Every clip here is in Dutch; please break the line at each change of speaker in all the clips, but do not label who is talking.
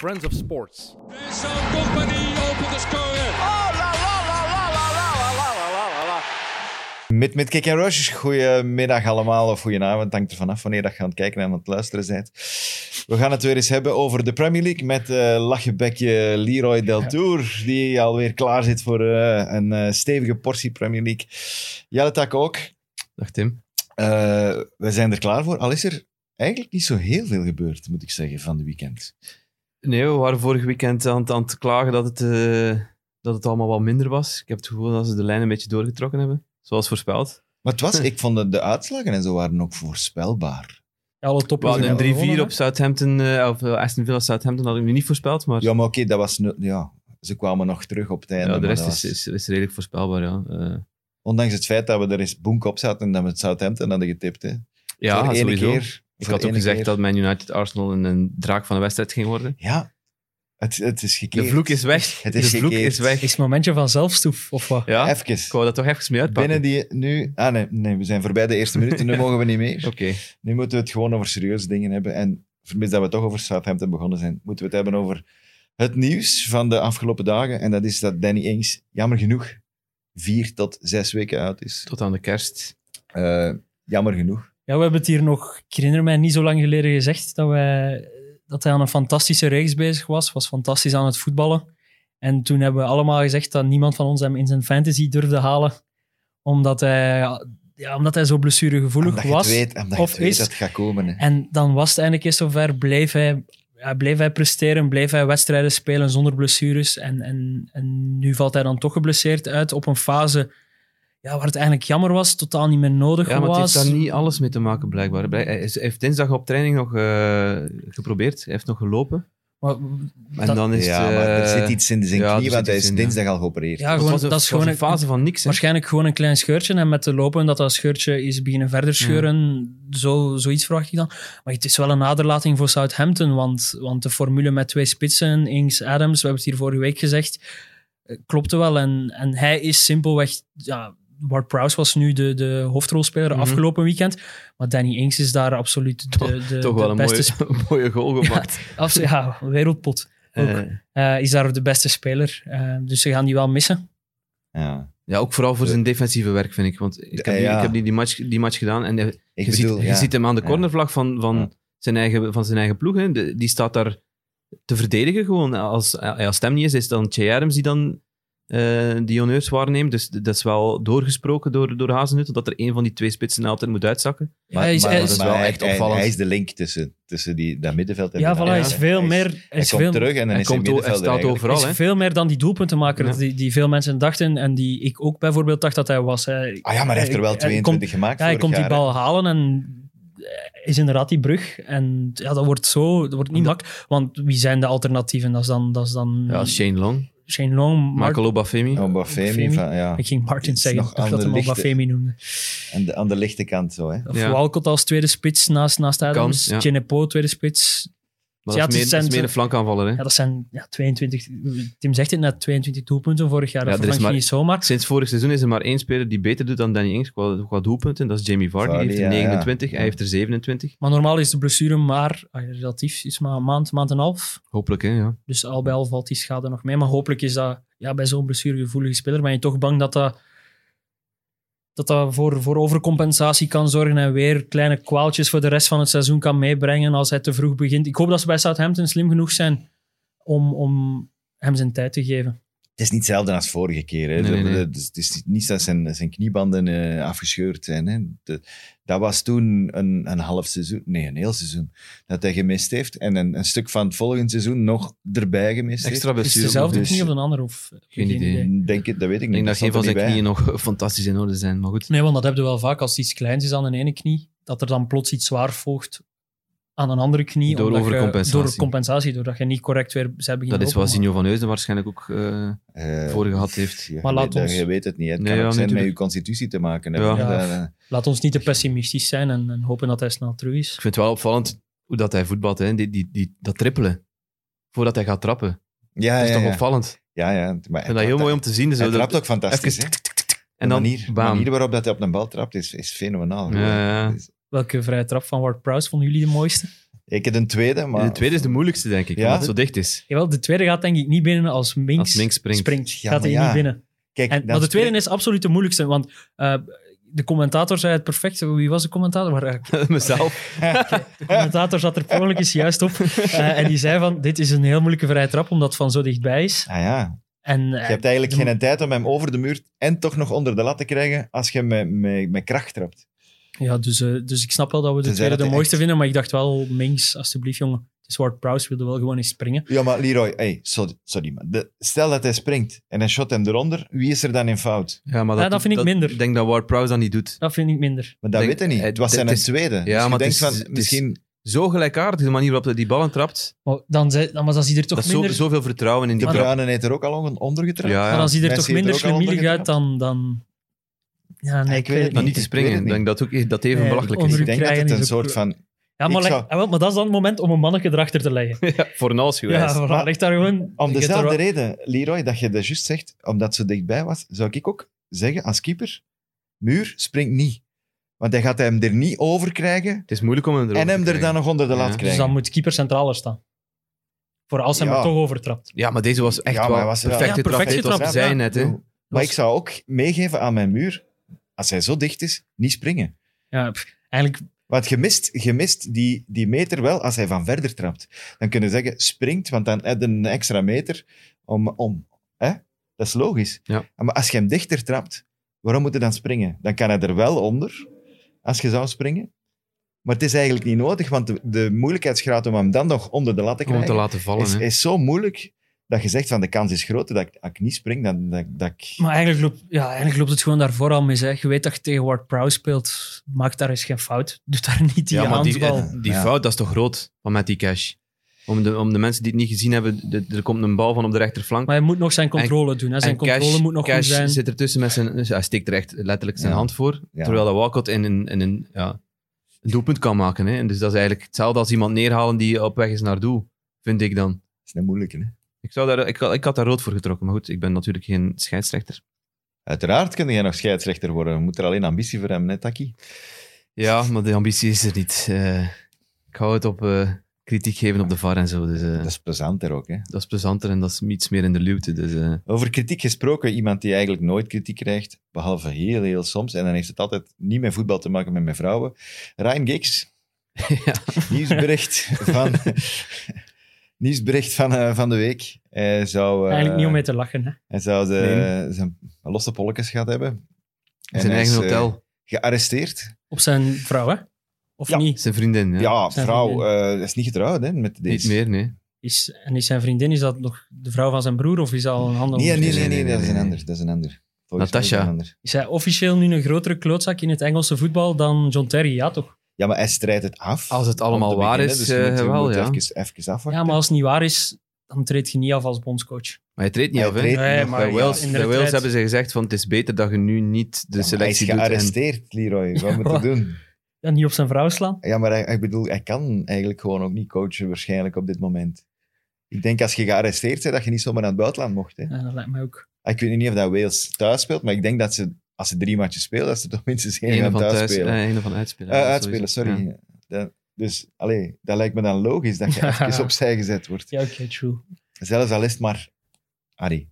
Friends of Sports.
Vincent Company opent de score. Oh, la la la la la la la la la la la.
Met, met Kick and Rush, goedemiddag allemaal of goedenavond. Hangt er vanaf wanneer dat je aan het kijken en aan het luisteren bent. We gaan het weer eens hebben over de Premier League met eh lachebekje Leroy Del Tour, die alweer klaar zit voor eh, een eh, stevige portie Premier League. Jelle Tak ook.
Dag Tim.
Eh, we zijn er klaar voor, al is er eigenlijk niet zo heel veel gebeurd, moet ik zeggen, van de weekend.
Nee, we waren vorig weekend aan, het- aan het klagen dat het, eh, dat het allemaal wat minder was. Ik heb het gevoel dat ze de lijn een beetje doorgetrokken hebben, zoals voorspeld.
Maar het
Hm.
was, ik vond de, de uitslagen en zo waren ook voorspelbaar.
Alle
We
toppers
hadden
hebben
een 3-4
gewonnen,
op Southampton, eh, of eh, Aston Villa Southampton, hadden we niet voorspeld, maar
Ja, maar oké, dat was... nul- Ja, ze kwamen nog terug op het einde.
ja, de
maar
rest
dat
is,
was-
is, is redelijk voorspelbaar. Ja, Eh,
Ondanks het feit dat we er eens bonk op zaten en dat we het Southampton hadden getipt. Hè. Voor
ja
de ene
sowieso.
keer-
Ik
voor
had
de
ook
ene
gezegd
keer.
dat Man United Arsenal een, een draak van de wedstrijd ging worden.
Ja, het, het is gekeerd.
De vloek is weg.
Het is
de vloek
gekeerd.
is weg.
hè. Is het momentje van zelfstoef, of wat?
Ja, ik
Even.
wou dat toch even mee uitpakken.
Binnen die nu... Ah nee, nee, we zijn voorbij de eerste minuut. Nu mogen we niet meer.
Oké.
Nu moeten we het gewoon over serieuze dingen hebben. En vermits dat we toch over Southampton begonnen zijn, moeten we het hebben over het nieuws van de afgelopen dagen. En dat is dat Danny Ings, jammer genoeg, vier tot zes weken uit is.
Tot aan de kerst.
Eh, jammer genoeg.
Ja, we hebben het hier nog, ik herinner mij niet zo lang geleden gezegd, dat, wij, dat hij aan een fantastische reeks bezig was. Was fantastisch aan het voetballen. En toen hebben we allemaal gezegd dat niemand van ons hem in zijn fantasy durfde halen. Omdat hij, ja, omdat hij zo blessuregevoelig
Omdat je het
was.
weet, omdat je
of
het weet
is-
dat het gaat komen. Hè.
En dan was het eindelijk eens zover, bleef hij, ja, bleef hij presteren, bleef hij wedstrijden spelen zonder blessures. En, en, en nu valt hij dan toch geblesseerd uit op een fase ja, waar het eigenlijk jammer was, totaal niet meer nodig
Ja, maar het
was.
heeft daar niet alles mee te maken, blijkbaar. Blijk- Hij is- hij heeft dinsdag op training nog eh, geprobeerd. Hij heeft nog gelopen.
Maar
En
dat-
dan is
ja,
het,
maar er
eh,
zit iets in zijn
ja, er
knie,
zit
want hij
iets
is
in, ja.
dinsdag al geopereerd.
ja,
het
gewoon,
was een,
dat is
het was
gewoon
een
een-
fase van niks. hè.
waarschijnlijk gewoon een klein scheurtje. En met de lopen dat dat scheurtje is beginnen verder scheuren, zo, zoiets verwacht ik dan. Maar het is wel een naderlating voor Southampton, want, want de formule met twee spitsen, Ings, Adams, we hebben het hier vorige week gezegd, eh, klopte wel. En, en hij is simpelweg... Ja, Ward-Prowse was nu de, de hoofdrolspeler
Mhm.
afgelopen weekend, maar Danny Ings is daar absoluut de, de, de
Toch wel een
beste
mooie,
sp-
mooie goal gemaakt.
abso- ja, wereldpot. ook.
Eh,
Eh, is daar de beste speler. Eh, dus ze gaan die wel missen.
Ja.
ja, Eh, ook vooral voor zijn defensieve werk, vind ik. Want ik heb, die,
Ja.
ik heb die, die, match, die match gedaan en hij-
Ik
je,
bedoel,
ziet, je
ja.
ziet hem aan de
Ja.
cornervlag van, van,
Ja.
zijn, eigen, van zijn eigen ploeg. Hè. De- die staat daar te verdedigen gewoon. Als, als het hem niet is, is het dan Che Adams die dan eh die honneurs waarneemt. Dus d- dat is wel doorgesproken door, door Hazenhutel, dat er een van die twee spitsen altijd moet uitzakken.
Ja, hij is- hij
dat
is-
is wel
hij-
echt
hij-
opvallend.
Hij is de link tussen, tussen die, dat middenveld en
Ja,
de
voilà, hij is
aanval.
veel
Hij is-
meer. Hij
Hij
is
komt
veel,
terug en dan
Hij,
is hij
komt, o- hij
middenvelder
staat
eigenlijk.
overal.
hij
hè.
is veel meer dan die doelpuntenmaker
Ja.
die, die veel mensen dachten en die ik ook bijvoorbeeld dacht dat hij was. Hij,
Ah ja, maar hij heeft er wel
Hij- hij
22 gemaakt
ja, hij
vorig
komt die
jaar,
bal halen en eh, is inderdaad die brug. En ja, dat wordt zo, dat wordt niet makkelijk. Want wie zijn de alternatieven? Dat is dan, dat is dan
Ja, Shane Long,
Shane Long, Mar-
Michael Obafemi.
hè. Oh, Bafemi,
Bafemi.
van- ja.
ik ging Martin
Iets
zeggen,
nog
ik dacht
aan
dat
de
hem al
lichte-
Bafemi noemde.
Aan, de, aan de lichte kant zo, hè.
Of
Ja.
Walcott als tweede spits naast, naast Adams.
ja.
Genepo tweede spits.
Maar
Ja,
dat
het
is meer,
is
dat is meer
centen.
een flankaanvaller. Hè.
Ja, dat zijn ja, 22... Tim zegt het net, 22 doelpunten vorig jaar.
Ja,
dat
er is
vervang je
maar-
niet zomaar.
Sinds vorig seizoen is er maar één speler die beter doet dan Danny Ings qua, qua doelpunten. Dat is Jamie Vardy.
Vardy,
die heeft er
ja, ja.
29,
Ja.
hij heeft er 27.
Maar normaal is de blessure maar, ah, relatief, is maar een maand, maand en een half.
Hopelijk, hè, ja.
Dus al bij al valt die schade nog mee. Maar hopelijk is dat ja, bij zo'n blessuregevoelige speler, ben je toch bang dat dat, dat, dat voor, voor overcompensatie kan zorgen en weer kleine kwaaltjes voor de rest van het seizoen kan meebrengen als hij te vroeg begint. Ik hoop dat ze bij Southampton slim genoeg zijn om, om hem zijn tijd te geven.
Het is niet hetzelfde als vorige keer, hè.
Nee, nee,
Dat-
nee.
dat- Het is niet dat zijn, zijn kniebanden eh, afgescheurd zijn, hè. De- dat was toen een, een half seizoen, nee, een heel seizoen, dat hij gemist heeft. En een, een stuk van het volgende seizoen nog erbij gemist heeft.
Extra
Is het
blessure.
dezelfde
dus-
knie of een ander? Of,
Geen idee.
Denk het, dat weet
Ik
ik niet.
denk dat
staat
geen van
er
zijn
niet bij.
knieën nog eh, fantastisch in orde zijn. Maar goed,
Nee, want dat heb je wel vaak als iets kleins is aan de ene knie, dat er dan plots iets zwaar volgt aan een andere knie.
Door
omdat je-
overcompensatie.
door compensatie, doordat je niet correct weer zij beginnen
dat is wat
lopen,
Zinho van Heusden waarschijnlijk ook... eh,
Eh,
voor gehad heeft.
ja,
Maar
je
laat
weet-
ons-
Je weet het niet. hè. Het
Nee,
kan
ja,
ook zijn met
natuurlijk.
je constitutie te maken. hè.
Ja.
Dat,
Ja.
eh,
maar Laat ons niet te pessimistisch zijn en, en hopen dat hij snel terug is.
Ik vind het wel opvallend hoe dat hij voetbalt. Hè. Die, die, die, dat trippelen. Voordat hij gaat trappen.
ja,
dat is
ja,
toch
ja.
opvallend. Ik
Ja, ja. Maar hij
vind dat heel
trapt-
mooi om te zien. Zo,
Hij
dat-
trapt ook fantastisch.
even
hè.
en
de
dan
manier, de
bam.
manier waarop dat hij op een bal trapt is, is fenomenaal.
Ja, ja.
Dus-
Welke vrije trap van Ward Prowse vonden jullie de mooiste?
Ik heb een tweede, maar...
de tweede is de moeilijkste, denk ik,
Ja?
omdat het zo dicht is.
Jawel, de tweede gaat denk ik niet binnen als Minks,
Als Minks springt.
Ja, maar
gaat hij
ja.
niet binnen.
Kijk,
En,
dan
maar de tweede
spreek-
is absoluut de moeilijkste, want eh, de commentator zei het perfect. Wie was de commentator? Waar, eh,
Mezelf.
Ah,
de commentator zat er per ongeluk eens juist op. Eh, en die zei van, dit is een heel moeilijke vrije trap, omdat het van zo dichtbij is.
Ah ja,
En,
je
eh,
hebt eigenlijk
de-
geen tijd om hem over de muur en toch nog onder de lat te krijgen als je hem met, met, met kracht trapt.
ja, dus, eh, dus ik snap wel dat we de
Tenzij
tweede
dat
de
hij
mooiste
echt-
vinden, maar ik dacht wel, Minks, alsjeblieft jongen. Dus Ward Prowse wilde wel gewoon eens springen.
Ja, maar Leroy, hey, sorry, sorry man. De- stel dat hij springt en hij shot hem eronder, wie is er dan in fout?
Ja, maar
Ja, dat vind ik minder.
Ik denk dat Ward Prowse dat niet doet.
Dat vind ik minder.
Maar dat
Denk-
weet hij niet.
eh,
Het was
dit
zijn
is-
tweede. Dus
maar
je
het
denkt
is-
van,
het is-
misschien...
Zo gelijkaardig, de manier waarop hij die ballen trapt.
Maar dan, zei- dan was dat hij er toch
Dat is zo,
minder...
zoveel vertrouwen in die
De
trap.
Bruinen heeft er ook al on- ondergetrapt.
Ja,
Maar
ja.
dan ziet er
Messi
toch
heeft er
minder
ook al
schlemielig uit
ondergetrapt.
dan, dan... Ja, nee, ik weet
Dan
het niet.
niet te springen.
Ik weet
Ik
het
denk dat ook echt- dat even
Nee,
belachelijk
onder-
is.
Ik denk dat het
krijgen
een
is ook-
soort van...
Ja, maar,
Ik
leg-
zou-
ah, wel, maar dat is dan het moment om een manneke erachter te leggen.
Ja, voor een als geweest.
Ja,
Maar-
voilà, leg daar gewoon...
Om
je hebt er
dezelfde
wel-
reden, Leroy, dat je dat juist zegt, omdat ze dichtbij was, zou ik ook zeggen als keeper, Muur springt niet. Want hij gaat hem er niet over krijgen
Het is moeilijk om hem erover
en hem
te
er
krijgen.
dan nog onder de lat
Ja.
Dus
krijgen.
dan moet keeper centraler staan. Voor als hij
Ja.
hem er toch overtrapt.
Ja, maar deze was echt
Ja, maar
wel
hij was wel-
perfecte
Ja,
trap.
perfect
Dit was
getrapt,
zij
ja.
net, hè.
Maar ik zou ook meegeven aan mijn Muur, als hij zo dicht is, niet springen.
Ja, pff, eigenlijk,
Want je mist, je mist die, die meter wel als hij van verder trapt. Dan kunnen ze zeggen, springt, want dan heb je een extra meter om... om hè? Dat is logisch.
Ja.
Maar als je hem dichter trapt, waarom moet hij dan springen? Dan kan hij er wel onder, als je zou springen. Maar het is eigenlijk niet nodig, want de, de moeilijkheidsgraad om hem dan nog onder de lat te
Om hem
krijgen
te laten vallen,
is,
hè.
is zo moeilijk dat je zegt van de kans is groot dat ik, als ik niet spring, dan, dat, dat ik...
maar eigenlijk loopt, ja, eigenlijk loopt het gewoon daarvoor al mis. Hè. Je weet dat je tegen Ward Prowse speelt. Maak daar eens geen fout. Doe daar niet die
Ja, maar die,
handbal.
eh, die
Ja.
fout, dat is toch groot, van met die cash. Om de, om de mensen die het niet gezien hebben, de- er komt een bal van op de rechterflank.
maar hij moet nog zijn controle doen. Hè. Zijn
en cash,
controle moet nog
cash
goed zijn.
zit ertussen met zijn... dus hij steekt er echt letterlijk zijn
Ja.
hand voor.
Ja.
Terwijl dat Walcott in een, in een, ja, een doelpunt kan maken. Hè. En dus dat is eigenlijk hetzelfde als iemand neerhalen die op weg is naar doel, vind ik dan.
Dat is een moeilijke, hè?
Ik, zou daar, ik, had- ik had daar rood voor getrokken, maar goed, ik ben natuurlijk geen scheidsrechter.
Uiteraard kun jij nog scheidsrechter worden. Je moet er alleen ambitie voor hebben, hè, Taki?
Ja, maar de ambitie is er niet. Eh, ik hou het op eh, kritiek geven op de VAR en zo. Dus, eh,
Dat is plezanter ook, hè?
dat is plezanter en dat is iets meer in de luwte. Dus, eh,
Over kritiek gesproken, iemand die eigenlijk nooit kritiek krijgt, behalve heel, heel soms, en dan heeft het altijd niet met voetbal te maken, maar met vrouwen. Ryan Giggs,
Ja.
nieuwsbericht van, nieuwsbericht van, eh, van de week. Hij zou, eh,
Eigenlijk niet om mee te lachen. Hè.
hij zou de, zijn losse polletjes gehad hebben. En
zijn
hij
eigen
is, eh,
hotel,
gearresteerd.
op zijn vrouw, hè? Of
Ja.
niet?
zijn vriendin. Ja.
Ja,
Zijn
vrouw,
vriendin.
eh, is niet getrouwd hè, met deze.
Niet meer, nee.
Is, en is zijn vriendin, is dat nog de vrouw van zijn broer of is dat al een handel?
Nee, nee, nee,
Nee,
nee,
nee,
dat is een
nee,
ander. Dat is een ander. Volgens mij is
Natasha.
dat een ander.
Is hij officieel nu een grotere klootzak in het Engelse voetbal dan John Terry? Ja, toch?
Ja, maar hij strijdt het af.
Als het allemaal
Om te
waar
beginnen,
is,
dus je moet-
eh,
je
wel,
moet
ja.
Even, even afwachten.
Ja, maar als het niet waar is, dan treed je niet af als bondscoach.
Maar hij treedt niet
Hij
af, hè.
treedt
Nee,
nog
maar
Bij
ja,
Wales,
in
bij
de
Wales
retraite.
hebben ze gezegd van het is beter dat je nu niet de
Ja, maar hij is
selectie doet. en-
gearresteerd, Leroy. Wat moet hij
Ja.
doen?
En niet op zijn vrouw slaan?
Ja, maar hij, ik bedoel, hij kan eigenlijk gewoon ook niet coachen waarschijnlijk op dit moment. Ik denk als je gearresteerd bent, dat je niet zomaar naar het buitenland mocht. Hè. Ah,
Ja, dat lijkt mij ook.
Ik weet niet of dat Wales thuis speelt, maar ik denk dat ze, als ze drie matches spelen, dat ze toch minstens één
Ene
gaan
van
thuis,
thuis,
spelen.
eh, ene van uitspelen.
Eh,
Ja,
uitspelen,
sowieso.
sorry.
Ja.
Dat- dus, allee, dat lijkt me dan logisch dat je
Ja.
even opzij gezet wordt.
Ja, oké, true.
Zelfs al is het maar... Allee,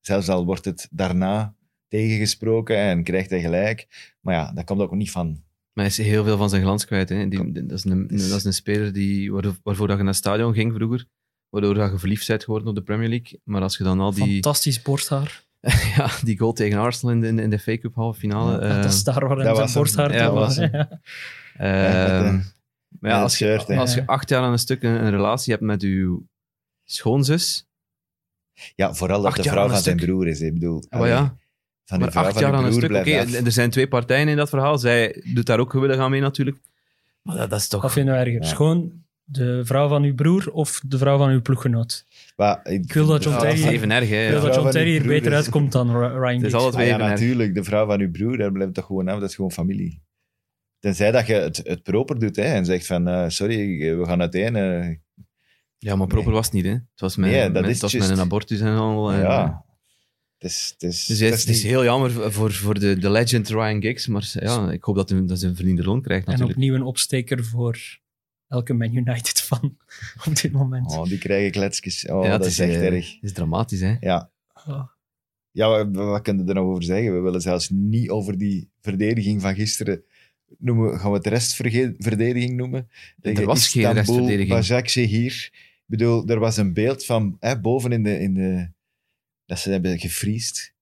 zelfs al wordt het daarna tegengesproken en krijgt hij gelijk. Maar ja, dat komt ook niet van...
Maar hij is heel veel van zijn glans kwijt. Hè. Die, die- dat, is een, dat is een speler die, waardoor- waarvoor dat je naar het stadion ging vroeger. Waardoor dat je verliefd bent geworden op de Premier League. Maar als je dan al die,
Fantastisch borsthaar.
ja, die goal tegen Arsenal in de, in de FA Cup halve finale...
Ja, Ah, dat
eh,
is daar
dat
waar hij zijn
was hem.
borsthaar
Ja,
te-
was hem.
Ja.
Ehm,
eh, Ja, met,
maar ja,
met
als,
het
je,
shirt, hè.
als je acht jaar aan een stuk een, een relatie hebt met uw schoonzus,
Ja, vooral dat
Acht
de
jaar
vrouw
aan
van
een
zijn
stuk.
broer is. Ik bedoel,
maar
allee,
oh ja,
van die
maar
vrouw
acht
van die
jaar aan een
broer
stuk, oké,
blijft af.
en er zijn twee partijen in dat verhaal. Zij doet daar ook gewillig aan mee natuurlijk. Maar dat, dat is toch...
Wat vinden we erger?
Ja.
Schoon de vrouw van uw broer of de vrouw van uw ploeggenoot?
Maar
Ik wil dat
de
John
Ja,
vrouw
dat is
Terry-
even erg, hè.
Ik wil
Ja.
dat John
van
Terry
uw
hier
broer
beter
is-
uitkomt dan Ra- Ryan
Het is
Giggs.
altijd
Ah ja,
even erg.
natuurlijk. De vrouw van uw broer, daar blijft toch gewoon af. Dat is gewoon familie. Tenzij dat je het, het proper doet hè, en zegt van, eh, sorry, eh, we gaan uiteen. eh
Ja, maar proper was het niet, hè. Het was met,
Nee, dat
met-
is
het was
juist.
met een abortus en al. en-
ja. Het is, het is,
Dus het
dat
is, het is
niet-
heel jammer voor- voor, voor de, de legend Ryan Giggs, maar ja, ik hoop dat hij dat zijn verdiende loon krijgt
En
natuurlijk.
opnieuw een opsteker voor elke Man United fan op dit moment.
Oh, die krijgen kletsjes. Oh, dat is echt
eh,
erg.
Het is dramatisch, hè.
Ja.
Oh.
Ja, wat, wat kunnen we er nog over zeggen? We willen zelfs niet over die verdediging van gisteren noemen. we- Gaan we het restverdediging noemen? Tegen
Er was geen restverdediging.
Bajakse hier. Ik bedoel, er was een beeld van hè, boven in de, in de... Dat ze hebben gefriest.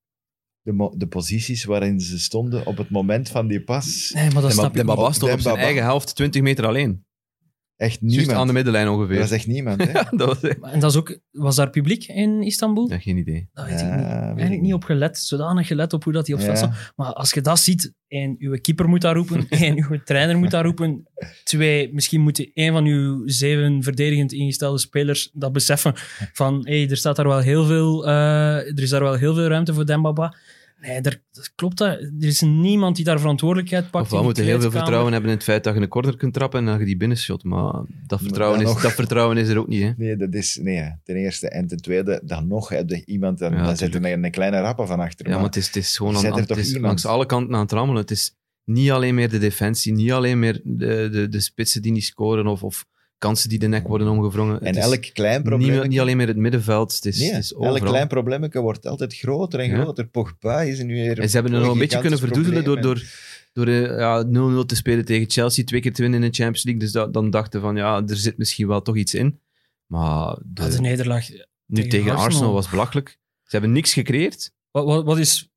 De, mo- de posities waarin ze stonden op het moment van die pas.
Nee, maar dat snap
De
ik
Baba
ook.
stond op zijn
Dembaba.
eigen helft 20 meter alleen.
Echt
Juist aan
niemand.
de middenlijn
Er
ongeveer.
was echt niemand, hè?
Ja, dat was echt-
En dat is ook, was daar publiek in Istanbul?
Ja, geen idee.
Dat weet ik
Ja,
niet.
weet ik
Eigenlijk niet op gelet, zodanig gelet op hoe dat hij op het
Ja.
veld stond. Maar als je dat ziet, en uw keeper moet daar roepen, en uw trainer moet daar roepen, twee, misschien moet één van uw zeven verdedigend ingestelde spelers dat beseffen, van hé, hey, er staat daar wel heel veel, eh, er is daar wel heel veel ruimte voor Dembaba. Nee, daar, dat klopt. dat- Er is niemand die daar verantwoordelijkheid pakt.
Ofwel
in
moet
die
je heel veel
kleedkamer.
vertrouwen hebben in het feit dat je een corner kunt trappen en dat je die binnenshot. Maar dat vertrouwen,
dan
is,
nog.
dat vertrouwen is er ook niet, hè.
Nee, dat is... Nee, hè. ten eerste. En ten tweede, dan nog heb je iemand... Dan,
Ja,
dan zit er een, een kleine rapper van achter.
Ja, maar
maar-
het is, het is gewoon
Zet
aan,
er
aan-
toch
het is
iemand?
langs alle kanten aan het rammelen. Het is niet alleen meer de defensie, niet alleen meer de, de, de spitsen die niet scoren of, of kansen die de nek worden omgevrongen.
En
het is
elk klein probleem...
niet, niet alleen meer het middenveld, het is,
Nee,
het is
elk
overal.
klein probleemje wordt altijd groter en
Ja.
groter. Pogba is nu weer...
En ze hebben er nog een beetje kunnen
gigantisch
verdoezelen door,
probleem,
door, door eh, ja, 0-0 te spelen tegen Chelsea, twee keer te winnen in de Champions League. Dus dat, dan dachten van, ja, er zit misschien wel toch iets in. Maar de-
Ja, Ah, de nederlaag.
nu tegen,
tegen
Arsenal.
Arsenal
was belachelijk. Ze hebben niks gecreëerd.
Wat, wat, wat is,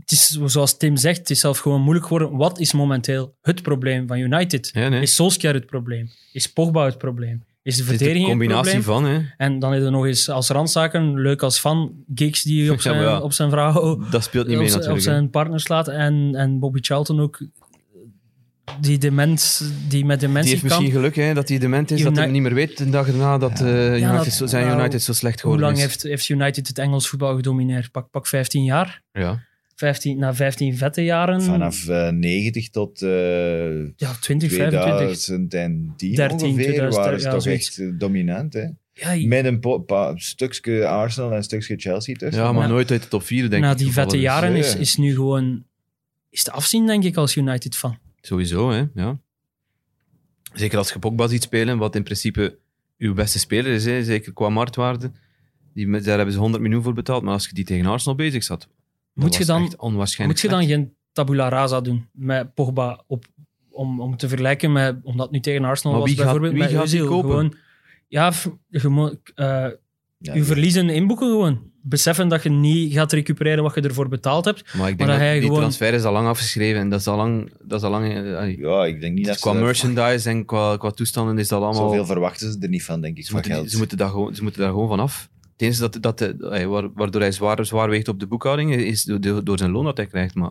het is, zoals Tim zegt, het is zelf gewoon moeilijk geworden. Wat is momenteel het probleem van United?
Ja, nee.
Is Solskjaer het probleem? Is Pogba het probleem? Is de
Het is een
verdediging het
combinatie
probleem?
van, hè.
En dan is er nog eens als randzaken, leuk als van, gigs die op
Ja,
zijn,
maar ja.
op zijn vrouw,
Dat speelt niet
op
mee
zijn, op
natuurlijk. hè.
zijn partner slaat. En, en Bobby Charlton ook, die dement, die met
Die
dementie
heeft
kan.
misschien geluk hè, dat hij dement is, dat
Uni-
hij niet meer weet de dag erna dat eh,
Ja,
United
dat-
zo, zijn
nou,
United zo slecht
Hoe
geworden
lang
is.
heeft, heeft United het Engels voetbal gedomineerd? Pak, pak 15 jaar.
Ja.
15, na 15 vette jaren.
hè. Vanaf eh, 90 tot eh
ja, 20, 25.
2010
13,
ongeveer
2000,
waren ze
ja,
toch
zoiets.
echt eh, dominant. Hè?
Ja, je-
Met een po- pa- stukje Arsenal en een stukje Chelsea tussen.
ja, maar
Na-
nooit uit de top 4, denk
na
ik.
die vette
gevallen is.
jaren is,
Ja.
is nu gewoon... Is te afzien, denk ik, als United fan.
Sowieso, hè. Ja. Zeker als je Pogba ziet spelen, wat in principe uw beste speler is, hè, zeker qua marktwaarde. Die, met- daar hebben ze 100 miljoen voor betaald, maar als je die tegen Arsenal bezig zat, dat
Moet je
was
dan-
echt onwaarschijnlijk
Moet je dan
slecht.
geen tabula rasa doen met Pogba op, om, om te vergelijken met, omdat nu tegen Arsenal
Maar
was
wie gaat-
bijvoorbeeld,
wie
met
gaat die
Özil.
kopen?
Gewoon, ja, f- je moet, eh,
Ja,
je
ja.
verliezen inboeken gewoon. Beseffen dat je niet gaat recupereren wat je ervoor betaald hebt.
Maar ik
Maar
denk
dat
dat,
hij
die
gewoon-
transfer is al lang afgeschreven en dat is al lang... Dat is al lang eh, allee,
Ja, ik denk niet dat
qua
ze daar-
merchandise en qua, qua toestanden is dat allemaal...
Zoveel verwachten ze er niet van, denk ik,
Ze
van
moeten,
geld.
ze, moeten daar gewoon, ze moeten daar gewoon vanaf. Het enige dat, dat, eh, waar- waardoor hij zwaar, zwaar weegt op de boekhouding is door- door, door zijn loon dat hij krijgt. Maar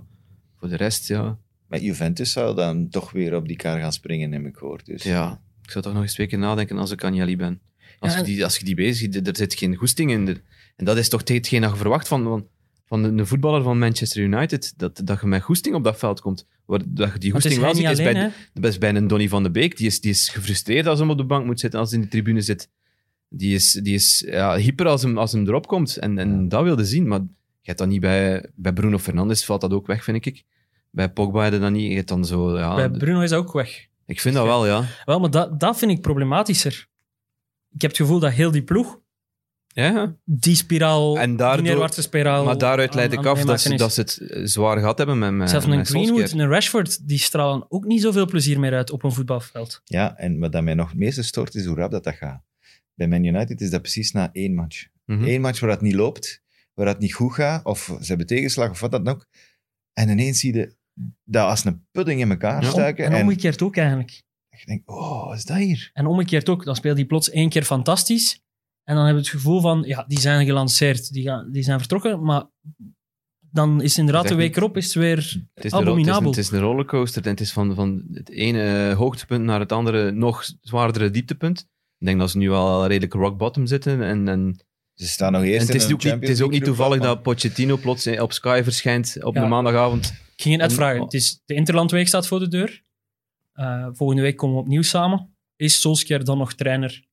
voor de rest, ja.
Maar Juventus zou dan toch weer op die kar gaan springen, heb ik gehoord. Dus.
ja. Ik zou toch nog eens twee keer nadenken als ik aan Jali ben. Als,
Ja,
je
en-
die, als je die bezig ziet, er zit geen goesting in. Er- En dat is toch hetgeen dat je verwacht van, van, van een een voetballer van Manchester United. Dat, dat je met goesting op dat veld komt. Waar, dat je die
Maar het is
goesting
hij
wel
niet
ziet, is bij,
alleen, hè.
dat is bij een Donny van de Beek. Die is, die is gefrustreerd als hem op de bank moet zitten, als hij in de tribune zit. Die is, die is ja, hyper als hem, als hem erop komt. En, en dat wilde zien. Maar je hebt dat niet bij, bij Bruno Fernandes, valt dat ook weg, vind ik. Bij Pogba heb je dat niet. Je hebt dan zo, ja,
Bij Bruno is hij ook weg.
ik vind dat wel, ja.
Wel, maar dat, dat vind ik problematischer. Ik heb het gevoel dat heel die ploeg
ja.
die spiraal,
En
die
daardoor-
neerwaartse spiraal...
Maar daaruit leid
aan-
ik
aan
af dat
meemaken
ze,
is.
dat ze het eh, zwaar gehad hebben met, met,
Zelfs een
met Solskjaer.
Greenwood en een Rashford, die stralen ook niet zoveel plezier meer uit op een voetbalveld.
Ja, en wat dat mij nog het meeste stoort, is hoe rap dat, dat gaat. Bij Man United is dat precies na één match.
Mhm.
Eén match waar het niet loopt, waar het niet goed gaat, of ze hebben tegenslag, of wat dan ook. En ineens zie je dat als een pudding in elkaar
Ja.
stuiken.
En
en
omgekeerd ook eigenlijk.
je denkt, oh, wat is dat hier?
En omgekeerd ook, dan speelt hij plots één keer fantastisch. En dan heb je het gevoel van, ja, die zijn gelanceerd, die, gaan, die zijn vertrokken. Maar dan is inderdaad
Dat
de
is echt
week erop is het weer...
Het is, de ro- het, is een,
Abominabel.
het is een rollercoaster. En het is van, van het ene hoogtepunt naar het andere nog zwaardere dieptepunt. Ik denk dat ze nu al redelijk rock bottom zitten. En, en,
Ze staan nog
en
eerst
het, is
in een
ook niet, het is ook niet toevallig dat Pochettino plots eh, op Sky verschijnt op
Ja.
een maandagavond.
Ik ging je net
Om-
vragen, het is, de Interlandweek staat voor de deur. Eh, volgende week komen we opnieuw samen. Is Solskjaer dan nog trainer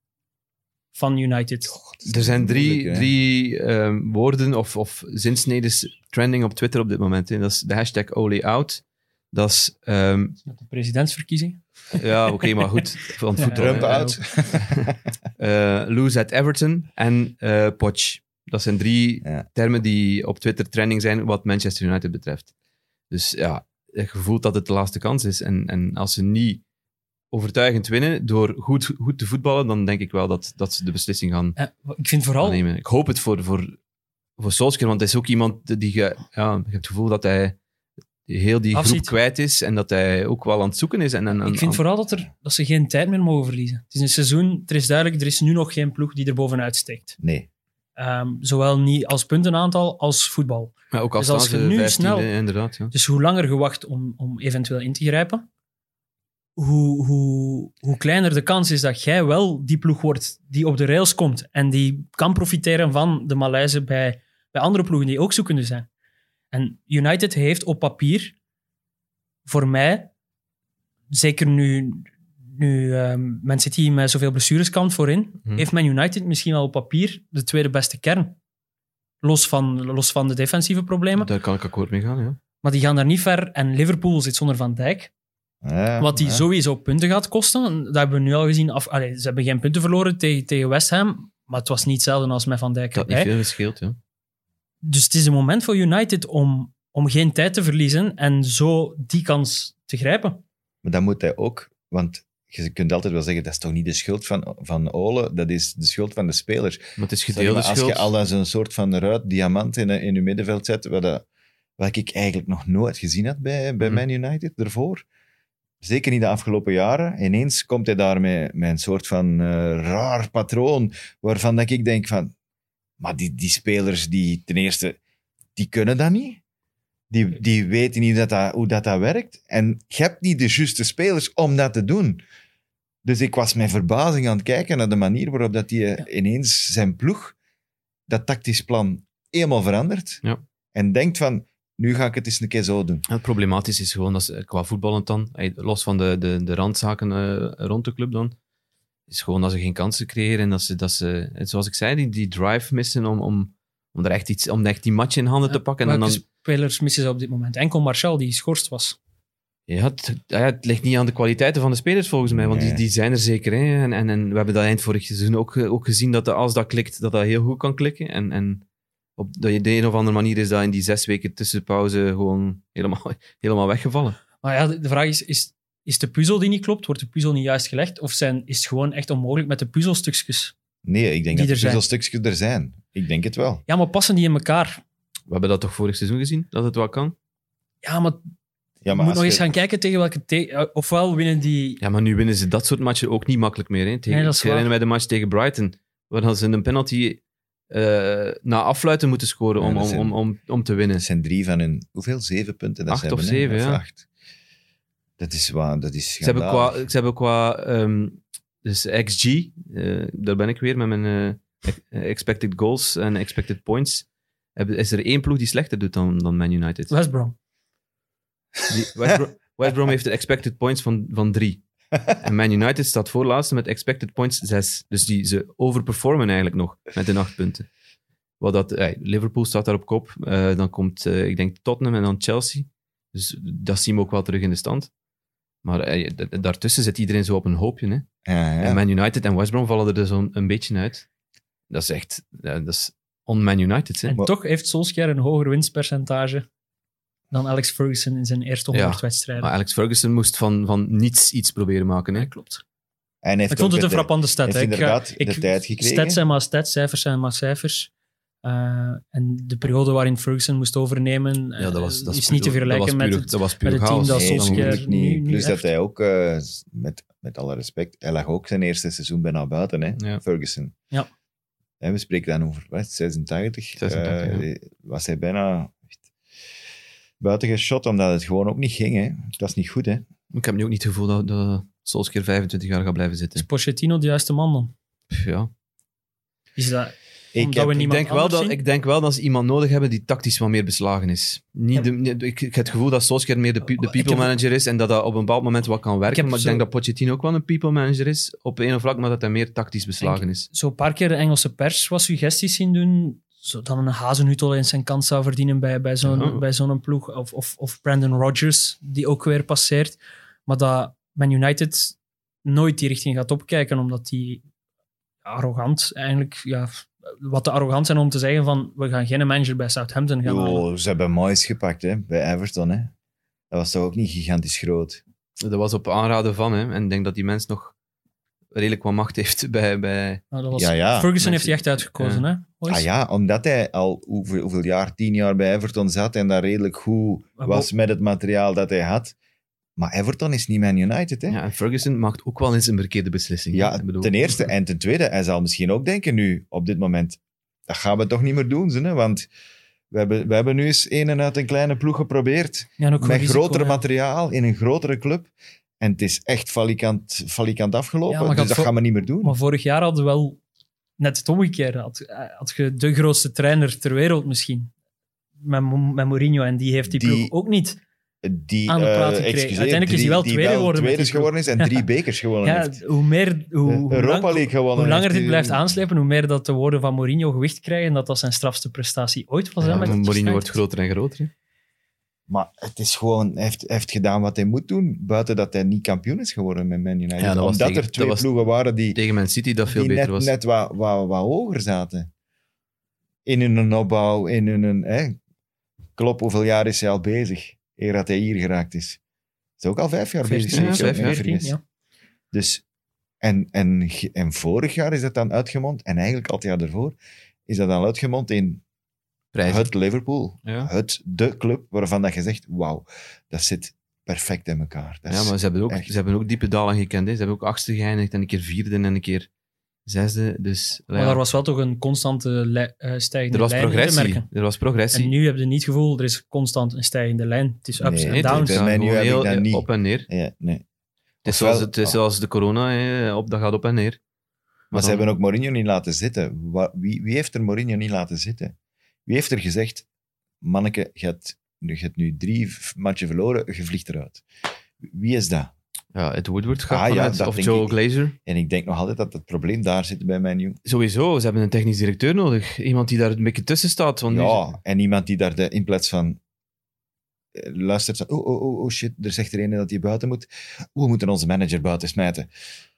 van United?
Er zijn drie,
Oh, moeilijk, hè.
drie ehm, woorden of, of zinsnedes trending op Twitter op dit moment. hè. Dat is de hashtag OleOut, Dat is... ehm,
Met de presidentsverkiezing.
ja, oké, maar goed. Van het
Ja,
voetbal,
ja,
Trump
hè.
ja.
uit.
Eh, lose at Everton en eh Poch. Dat zijn drie
Ja.
termen die op Twitter trending zijn wat Manchester United betreft. Dus ja, je voelt dat het de laatste kans is. En, en als ze niet overtuigend winnen door goed, goed te voetballen, dan denk ik wel dat, dat ze de beslissing gaan
Eh, ik vind vooral...
nemen. Ik hoop het voor, voor, voor Solskjaer, want hij is ook iemand die... ge- ja, je hebt het gevoel dat hij heel die groep
Afziet.
kwijt is en dat hij ook wel aan het zoeken is. En, en,
Ik vind vooral dat, er, dat ze geen tijd meer mogen verliezen. Het is een seizoen, er is duidelijk, er is nu nog geen ploeg die er bovenuit steekt.
Nee.
Ehm, zowel niet als puntenaantal als voetbal.
maar ook al
dus als
staan
je
ze
nu
15e,
snel-
eh, inderdaad. Ja.
Dus hoe langer je wacht om, om eventueel in te grijpen, hoe, hoe, hoe kleiner de kans is dat jij wel die ploeg wordt die op de rails komt en die kan profiteren van de malaise bij, bij andere ploegen die ook zoekende zijn. En United heeft op papier voor mij, zeker nu, nu ehm Man City met zoveel blessures kampt voorin,
Hmm.
heeft Man United misschien wel op papier de tweede beste kern. Los van, los van de defensieve problemen.
Daar kan ik akkoord mee gaan, ja.
Maar die gaan daar niet ver. En Liverpool zit zonder Van Dijk.
Ja,
Wat die
ja.
sowieso punten gaat kosten. En Dat hebben we nu al gezien. Af, allee, ze hebben geen punten verloren tegen, tegen West Ham. Maar het was niet hetzelfde als met Van Dijk
Dat niet
erbij.
veel scheelt, ja.
Dus het is een moment voor United om, om geen tijd te verliezen. En zo die kans te grijpen.
Maar dan moet hij ook, want je kunt altijd wel zeggen, dat is toch niet de schuld van, van Ole, dat is de schuld van de spelers.
Maar het is
Sorry, maar
gedeelde
als
schuld.
je al dan zo'n soort van ruit diamant in, eh, in je middenveld zet, wat, dat- wat ik eigenlijk nog nooit gezien had bij, bij
Mhm.
Man United daarvoor. Zeker niet de afgelopen jaren. Ineens komt hij daar met, met een soort van eh, raar patroon, waarvan dat ik denk van, maar die, die spelers, die ten eerste, die kunnen dat niet. Die, die weten niet dat dat, hoe dat, dat werkt. En je hebt niet de juiste spelers om dat te doen. Dus ik was met verbazing aan het kijken naar de manier waarop dat die eh, ineens zijn ploeg, dat tactisch plan, helemaal verandert.
Ja.
En denkt van, nu ga ik het eens een keer zo doen.
En Het problematisch is gewoon dat ze, qua voetballend dan, ey, los van de, de, de randzaken eh, rond de club dan, is gewoon dat ze geen kansen creëren en dat ze, dat ze en zoals ik zei, die, die drive missen om, om, om, er echt iets, om echt die match in handen te pakken. En
Welke
dan,
spelers missen ze op dit moment? Enkel Martial, die geschorst was.
ja, het, ah ja, het ligt niet aan de kwaliteiten van de spelers volgens mij, want die,
Nee.
die zijn er zeker. Hè? En, en, en we hebben dat eind vorig seizoen ook, eh, ook gezien, dat de, als dat klikt, dat dat heel goed kan klikken. En, en op de, de een of andere manier is dat in die zes weken tussenpauze gewoon helemaal, helemaal weggevallen.
Maar ja, de- de vraag is, is, is de puzzel die niet klopt? Wordt de puzzel niet juist gelegd? Of zijn, is het gewoon echt onmogelijk met de puzzelstukjes?
Nee, ik denk
Die
dat
er
er
zijn.
veel stukjes er zijn. Ik denk het wel.
Ja, maar passen die in elkaar?
We hebben dat toch vorig seizoen gezien, dat het wel kan?
Ja, maar
Ja,
je
maar
moet
als
nog eens
je-
gaan kijken tegen welke... te- eh, ofwel winnen die...
Ja, maar nu winnen ze dat soort matchen ook niet makkelijk meer. Hè? Tegen,
Nee, dat is
ik herinner
waar.
mij de match tegen Brighton, waar ze een penalty eh, na afluiten moeten scoren om,
Ja, dat
om,
zijn-
om, om, om te winnen.
Het zijn drie van hun, hoeveel? Zeven punten? Dat
Acht
ze
of
hebben, hè?
zeven, ja.
acht. Dat is waar, dat is
Ze hebben qua,
schandalig.
ze hebben qua ehm, dus XG, eh, daar ben ik weer met mijn eh, ex- eh, expected goals en expected points. Hebben- Is er één ploeg die slechter doet dan, dan Man United?
West Brom.
Die- West, Brom, West Brom heeft een expected points van, van drie. En Man United staat voorlaatste met expected points zes. Dus die, ze overperformen eigenlijk nog met hun acht punten. Wat dat, ey, Liverpool staat daar op kop. Eh, dan komt, eh, ik denk, Tottenham en dan Chelsea. Dus dat zien we ook wel terug in de stand. Maar ey, d- daartussen zit iedereen zo op een hoopje. Hè?
Ja, ja.
En Man United en West Brom vallen er dus een, een beetje uit. Dat is echt... ja, dat is on-Man United, hè?
En
Maar-
toch heeft Solskjaer een hoger winstpercentage dan Alex Ferguson in zijn eerste
Ja,
100 wedstrijden.
Maar Alex Ferguson moest van, van niets iets proberen maken. Hè?
klopt.
En hij heeft
Ik vond
ook
het een
de-
frappante stat.
heeft
hè. Ik ga-
inderdaad de tijd gekregen.
Stats zijn maar stats, cijfers zijn maar cijfers. Eh, en de periode waarin Ferguson moest overnemen eh,
Ja, dat was, dat
is, niet te
puur-
vergelijken
dat was
met
puur-
het
dat was puur
met het team
chaos.
dat
Nee,
Solskjaer
natuurlijk niet.
nu- nu
Plus dat
echt-
hij ook, eh, s- met, met alle respect, hij lag ook zijn eerste seizoen bijna buiten, hè?
Ja.
Ferguson.
Ja.
En we spreken dan over wat, 86.
86,
Eh, Was hij bijna echt buiten geschot, omdat het gewoon ook niet ging. Hè? Het was niet goed. Hè?
Ik heb nu ook niet het gevoel dat, dat Solskjaer 25 jaar gaat blijven
is
zitten.
Pochettino de juiste man dan.
Pff, Ja.
Is dat,
Ik
Omdat
heb,
we
Ik,
Niemand
denk wel
anders
dat,
zien?
ik denk wel dat ze iemand nodig hebben die tactisch wat meer beslagen is. Niet
Ja.
de, nee, ik, ik heb het gevoel dat Solskjaer meer de, pe- de
Ik
people
heb-
manager is en dat dat op een bepaald moment wat kan werken.
heb
maar ik
zo-
denk dat Pochettino ook wel een people manager is op een of vlak, maar dat hij meer tactisch beslagen is.
zo een paar keer de Engelse pers wat suggesties zien doen. zo dan een Hazenhutel in zijn kans zou verdienen bij, bij zo'n
Oh.
Ja.
bij zo'n ploeg. Of, of, of Brandon Rodgers, die ook weer passeert. Maar dat Man United nooit die richting gaat opkijken, omdat die arrogant eigenlijk... Ja, wat te arrogant zijn om te zeggen van we gaan geen manager bij Southampton gaan halen.
Yo, ze hebben Moyes gepakt hè, bij Everton. Hè. Dat was toch ook niet gigantisch groot.
Dat was op aanraden van hem. En ik denk dat die mens nog redelijk wat macht heeft bij... bij...
Nou, dat was,
Ja, ja.
Ferguson heeft
Mensen-
hij echt uitgekozen, hè? boys?
Ah ja, omdat hij al hoeveel, hoeveel jaar, tien jaar bij Everton zat en daar redelijk goed
Maar
was met het materiaal dat hij had. Maar Everton is niet Man United. Hè.
Ja, en Ferguson maakt ook wel eens een verkeerde beslissing.
Ja,
Ik bedoel-
ten eerste. En ten tweede, hij zal misschien ook denken nu, op dit moment, dat gaan we toch niet meer doen, ze, hè? want we hebben, we hebben nu eens een en uit een kleine ploeg geprobeerd,
Ja, en ook
met
wel risico,
groter
hè.
materiaal, in een grotere club. En het is echt falikant, falikant
Ja,
afgelopen,
maar gaat
dus dat
voor-
gaan we niet meer doen.
Maar vorig jaar hadden we wel net het omgekeerde. Had, eh, had je de grootste trainer ter wereld misschien. Met, Mo- met Mourinho en die heeft die,
Die-
ploeg ook niet.
Die,
aan de
eh,
praat gekregen.
excuseer,
Uiteindelijk is
drie-
hij wel
die
tweede geworden met
tweede is
die ploeg.
geworden is en drie bekers gewonnen
Ja,
heeft.
hoe meer, hoe, hoe
Europa
lang-
League gewonnen
hoe langer
heeft
dit
hij.
blijft aanslepen, hoe meer dat de woorden van Mourinho gewicht krijgen. En dat dat zijn strafste prestatie ooit was. hè,
Ja,
met
maar
het
Mourinho wordt
United.
groter en groter. hè.
Maar het is gewoon, hij heeft, hij heeft gedaan wat hij moet doen, buiten dat hij niet kampioen is geworden met Man United.
Ja, dat was
Omdat
tegen-
er twee
dat was-
ploegen waren die
Tegen Man City dat veel
die
beter
net,
was.
net wat, wat, wat hoger zaten. In hun opbouw, in hun... Hè. Klopt, hoeveel jaar is hij al bezig, eer dat hij hier geraakt is? Is hij ook al vijf jaar bezig?
ja,
als ik me
vijf
niet
jaar.
vergis.
14, ja.
Dus, en, en, ge- en vorig jaar is dat dan uitgemond, en eigenlijk al het jaar daarvoor, is dat dan uitgemond in
Prijzen.
het Liverpool.
Ja.
Het, de club waarvan dat je zegt, wauw, dat zit perfect in elkaar. Dat
Ja,
is-
maar ze hebben, ook,
echt.
ze hebben ook diepe dalen gekend. Hè. Ze hebben ook achtste geëindigd en een keer vierde en een keer zesde. Dus
Maar
ja,
daar was wel toch een constante lij- eh, stijgende
er was
lijn in te
progressie.
merken.
Er was progressie.
En nu heb je niet het gevoel, er is constant een stijgende lijn. Het is ups
Nee,
en
het-
downs.
het- bij mij nu
gewoon
heb ik dat
eh,
niet.
op en neer. Het
Ja, nee.
is,
Ofwel- Ah.
zoals, het is zoals de corona, hè. Op, dat gaat op en neer.
Maar ze
dan-
hebben ook Mourinho niet laten zitten. Wa- Wie, wie heeft er Mourinho niet laten zitten? Wie heeft er gezegd, manneke, je hebt, je hebt nu drie v- matchen verloren, je vliegt eruit. Wie is dat?
Ja, het Woodward gaat
Ah, ja,
vanuit,
dat
of
denk
Joe
ik.
Glazer.
En ik denk nog altijd dat het probleem daar zit bij Menu.
Sowieso, ze hebben een technisch directeur nodig. Iemand die daar een beetje tussen staat. Want nu-
Ja, en iemand die daar de, in plaats van eh, luistert van, oh, oh, oh, oh shit, er zegt er een dat hij buiten moet. We moeten onze manager buiten smijten.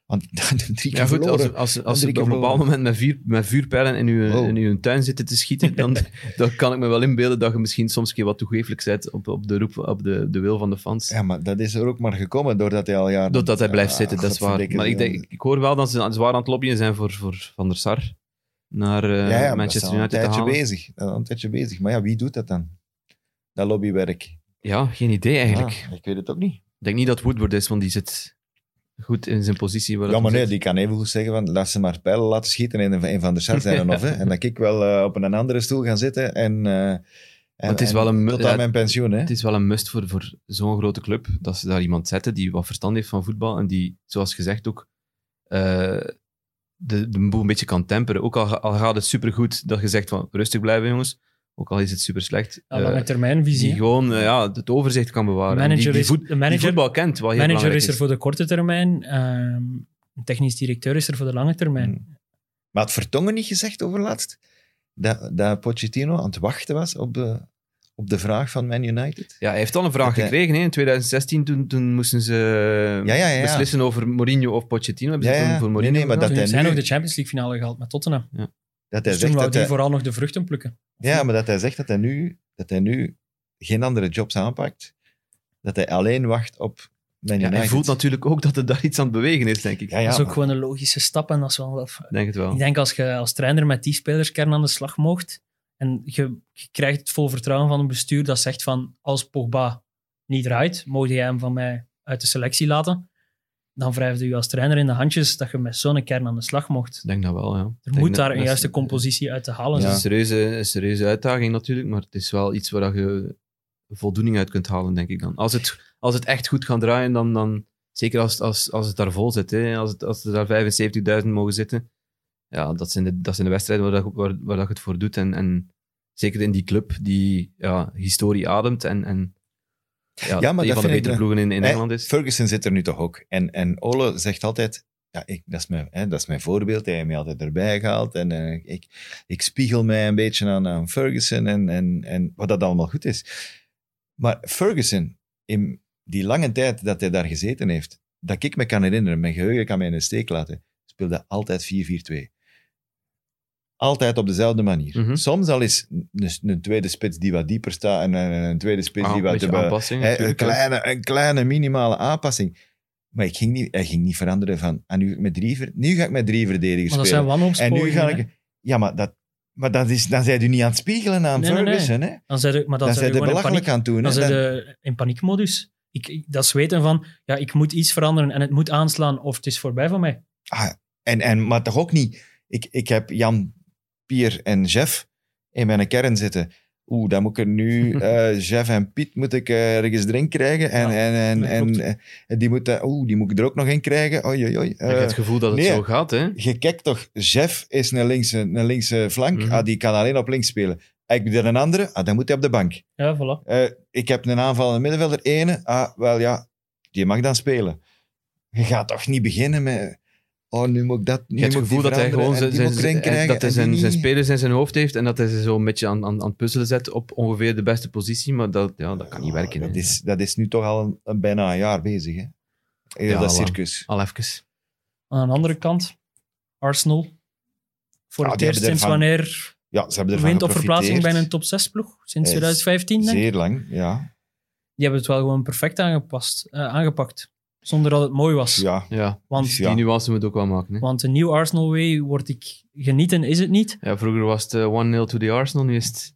Want drie keer
ja, goed, als,
verloren.
als,
Drie
als ze op
keer
een bepaald
verloren.
moment met, vier, met vuurpijlen in uw,
Wow.
in uw tuin zitten te schieten, dan, dan kan ik me wel inbeelden dat je misschien soms een keer wat toegeeflijk bent op, op, de, roep, op de, de wil van de fans.
Ja, maar dat is er ook maar gekomen doordat hij al jaren...
Doordat hij blijft
Ah,
zitten, dat is waar.
godverdikke,
Maar ik, denk, ik hoor wel dat ze zwaar aan het lobbyen zijn voor, voor Van der Sar naar eh,
ja, ja, maar dat is
Manchester
al een
United te
tijdje
halen.
bezig. Dat is al een tijdje bezig. Maar ja, wie doet dat dan? Dat lobbywerk.
Ja, geen idee eigenlijk.
Ja, ik weet het ook niet.
Ik denk niet dat Woodward is, want die zit goed in zijn positie. Waar
ja,
dat
maar
hem
nee,
zit.
die kan even goed zeggen van laat ze maar pijlen laten schieten in een, een van de Sar zijn of hè. En dat ik wel eh, op een andere stoel gaan zitten en... eh, en-
het is
en
wel een-
Tot
ja,
aan mijn pensioen, hè.
Het is wel een must voor, voor zo'n grote club dat ze daar iemand zetten die wat verstand heeft van voetbal en die, zoals gezegd, ook eh, de, de boel een beetje kan temperen. Ook al, ga- al gaat het supergoed dat je zegt van rustig blijven, jongens. Ook al is het super slecht.
Ja, lange
eh, die
termijnvisie.
gewoon eh, ja, het overzicht kan bewaren.
Manager
En die, die
is-
voet-
de
die
manager-
voetbal kent, wat heel
manager
belangrijk
is er voor de korte termijn. ehm, een technisch directeur is er voor de lange termijn.
Hmm. Maar had Vertongen niet gezegd overlaatst dat, dat Pochettino aan het wachten was op de, op de vraag van Man United?
Ja, hij heeft al een vraag
Dat hij-
gekregen. Hè. In 2016 toen, toen moesten ze eh,
Ja, ja, ja, ja.
beslissen over Mourinho of Pochettino. Hebben ze
Ja, ja.
toen voor
Nee,
Mourinho
nee, maar
gedaan?
dat
Toen
hij
heeft hij
nu-
nog de Champions League finale gehaald met Tottenham.
Dat hij
Dus toen
zegt
wou
dat
die
hij,
vooral nog de vruchten plukken.
Ja, maar dat hij zegt dat hij nu, dat hij nu geen andere jobs aanpakt. Dat hij alleen wacht op Man
Ja,
United.
hij voelt natuurlijk ook dat er daar iets aan het bewegen is, denk ik.
Ja, ja,
dat is ook
maar-
gewoon een logische stap. En dat is wel,
Ik Denk het wel.
Ik denk als je als trainer met die spelerskern aan de slag mocht en je, je krijgt het vol vertrouwen van een bestuur dat zegt van als Pogba niet draait, mocht jij hem van mij uit de selectie laten. Dan wrijfde je als trainer in de handjes dat je met zo'n kern aan de slag mocht.
Ik denk dat wel, ja. Ik
Er
denk
moet
dat-
daar een
dat is-
juiste compositie uit te halen
Dat is
zijn.
een serieuze, een serieuze uitdaging natuurlijk, maar het is wel iets waar je voldoening uit kunt halen, denk ik dan. Als het, als het echt goed gaat draaien, dan, dan zeker als, als, als het daar vol zit, hè. Als, het, als er daar 75.000 mogen zitten, ja, dat zijn de, dat zijn de wedstrijden waar, dat, waar, waar dat je het voor doet. En, en zeker in die club die ja, historie ademt en, en ja,
Ja, maar
een
dat
van de
vind ik
betere
de-
ploegen in, in
Hè,
Engeland is.
Ferguson zit er nu toch ook. En, en Ole zegt altijd, ja, ik, dat, is mijn, hè, dat is mijn voorbeeld. Hij heeft mij altijd erbij gehaald. En eh, ik, ik spiegel mij een beetje aan, aan Ferguson en, en, en wat dat allemaal goed is. Maar Ferguson, in die lange tijd dat hij daar gezeten heeft, dat ik me kan herinneren, mijn geheugen kan mij in de steek laten, speelde altijd 4-4-2. Altijd op dezelfde manier.
Mhm.
Soms al is een, een tweede spits die wat dieper staat en een, een tweede spits
Ah,
die
een
wat...
beetje
eh,
aanpassing.
Hè, een,
natuurlijk, hè.
kleine, een kleine minimale aanpassing. Maar ik ging niet, hij ging niet veranderen van. En nu, ga ik met drie, ver- nu ga ik met drie verdedigers
Maar dat zijn
spelen. en
wanhoopspogingen.
nu ga
hè.
ik. Ja, maar, dat, maar dat is, dan zijn u niet aan het spiegelen aan
Nee, nee,
Ferguson. Hè?
Dan zijn ze- maar dan
Dan
zijn
zijn u
ze gewoon in paniek.
belachelijk aan het doen. hè.
Dan zijn
Dan-
ze in paniekmodus. Ik, ik- dat is weten van, ja, ik moet iets veranderen en het moet aanslaan of het is voorbij van mij.
Ah, en, en, maar toch ook niet. Ik, ik heb Jan, Pier en Jeff in mijn kern zitten. Oeh, dan moet ik er nu... eh, Jeff en Piet moet ik eh, ergens erin krijgen. En,
Ja,
en, en,
dat
en,
klopt.
eh, die, moet, eh, oeh, die moet ik er ook nog in krijgen. Oei, oei, oei.
Ik heb
Eh,
het gevoel dat het
nee.
zo gaat, hè?
je kijkt toch, Jeff is een linkse, een linkse flank,
Mhm.
ah, die kan alleen op links spelen. Ik doe er een andere, ah, dan moet hij op de bank.
Ja, voilà.
Eh, ik heb een aanvallende middenvelder, ene, ah, wel ja, die mag dan spelen. Je gaat toch niet beginnen met, oh, nu moet ik dat, nu
Je hebt het
moet ik
gevoel
die
dat hij gewoon
veranderen en
zijn,
die
zijn,
moet ik erin krijgen
dat hij
en die
zijn, zijn
niet.
spelers in zijn hoofd heeft en dat hij ze zo een beetje aan, aan, aan het puzzelen zet op ongeveer de beste positie, maar dat, ja, dat kan niet
Ah,
werken.
Dat
hè.
is, dat is nu toch al een, een- bijna een jaar bezig, hè? Heel
Ja,
dat
lang.
circus.
Al even.
Aan de andere kant, Arsenal. Voor
Ja,
het
die
eerst
hebben
sinds
ervan
wanneer
Ja, ze hebben ervan
wint op verplaatsing bij een
geprofiteerd.
top 6 ploeg? Sinds
Eh,
2015, denk ik.
Zeer lang, ja.
Die hebben het wel gewoon perfect aangepast, eh, aangepakt. Zonder dat het mooi was.
ja.
Ja,
Want,
Ja.
die nuance moet ook wel maken. Hè.
want een nieuw Arsenal way word ik genieten, is het niet?
Ja, vroeger was het eh, 1-0 to the Arsenal, nu is het...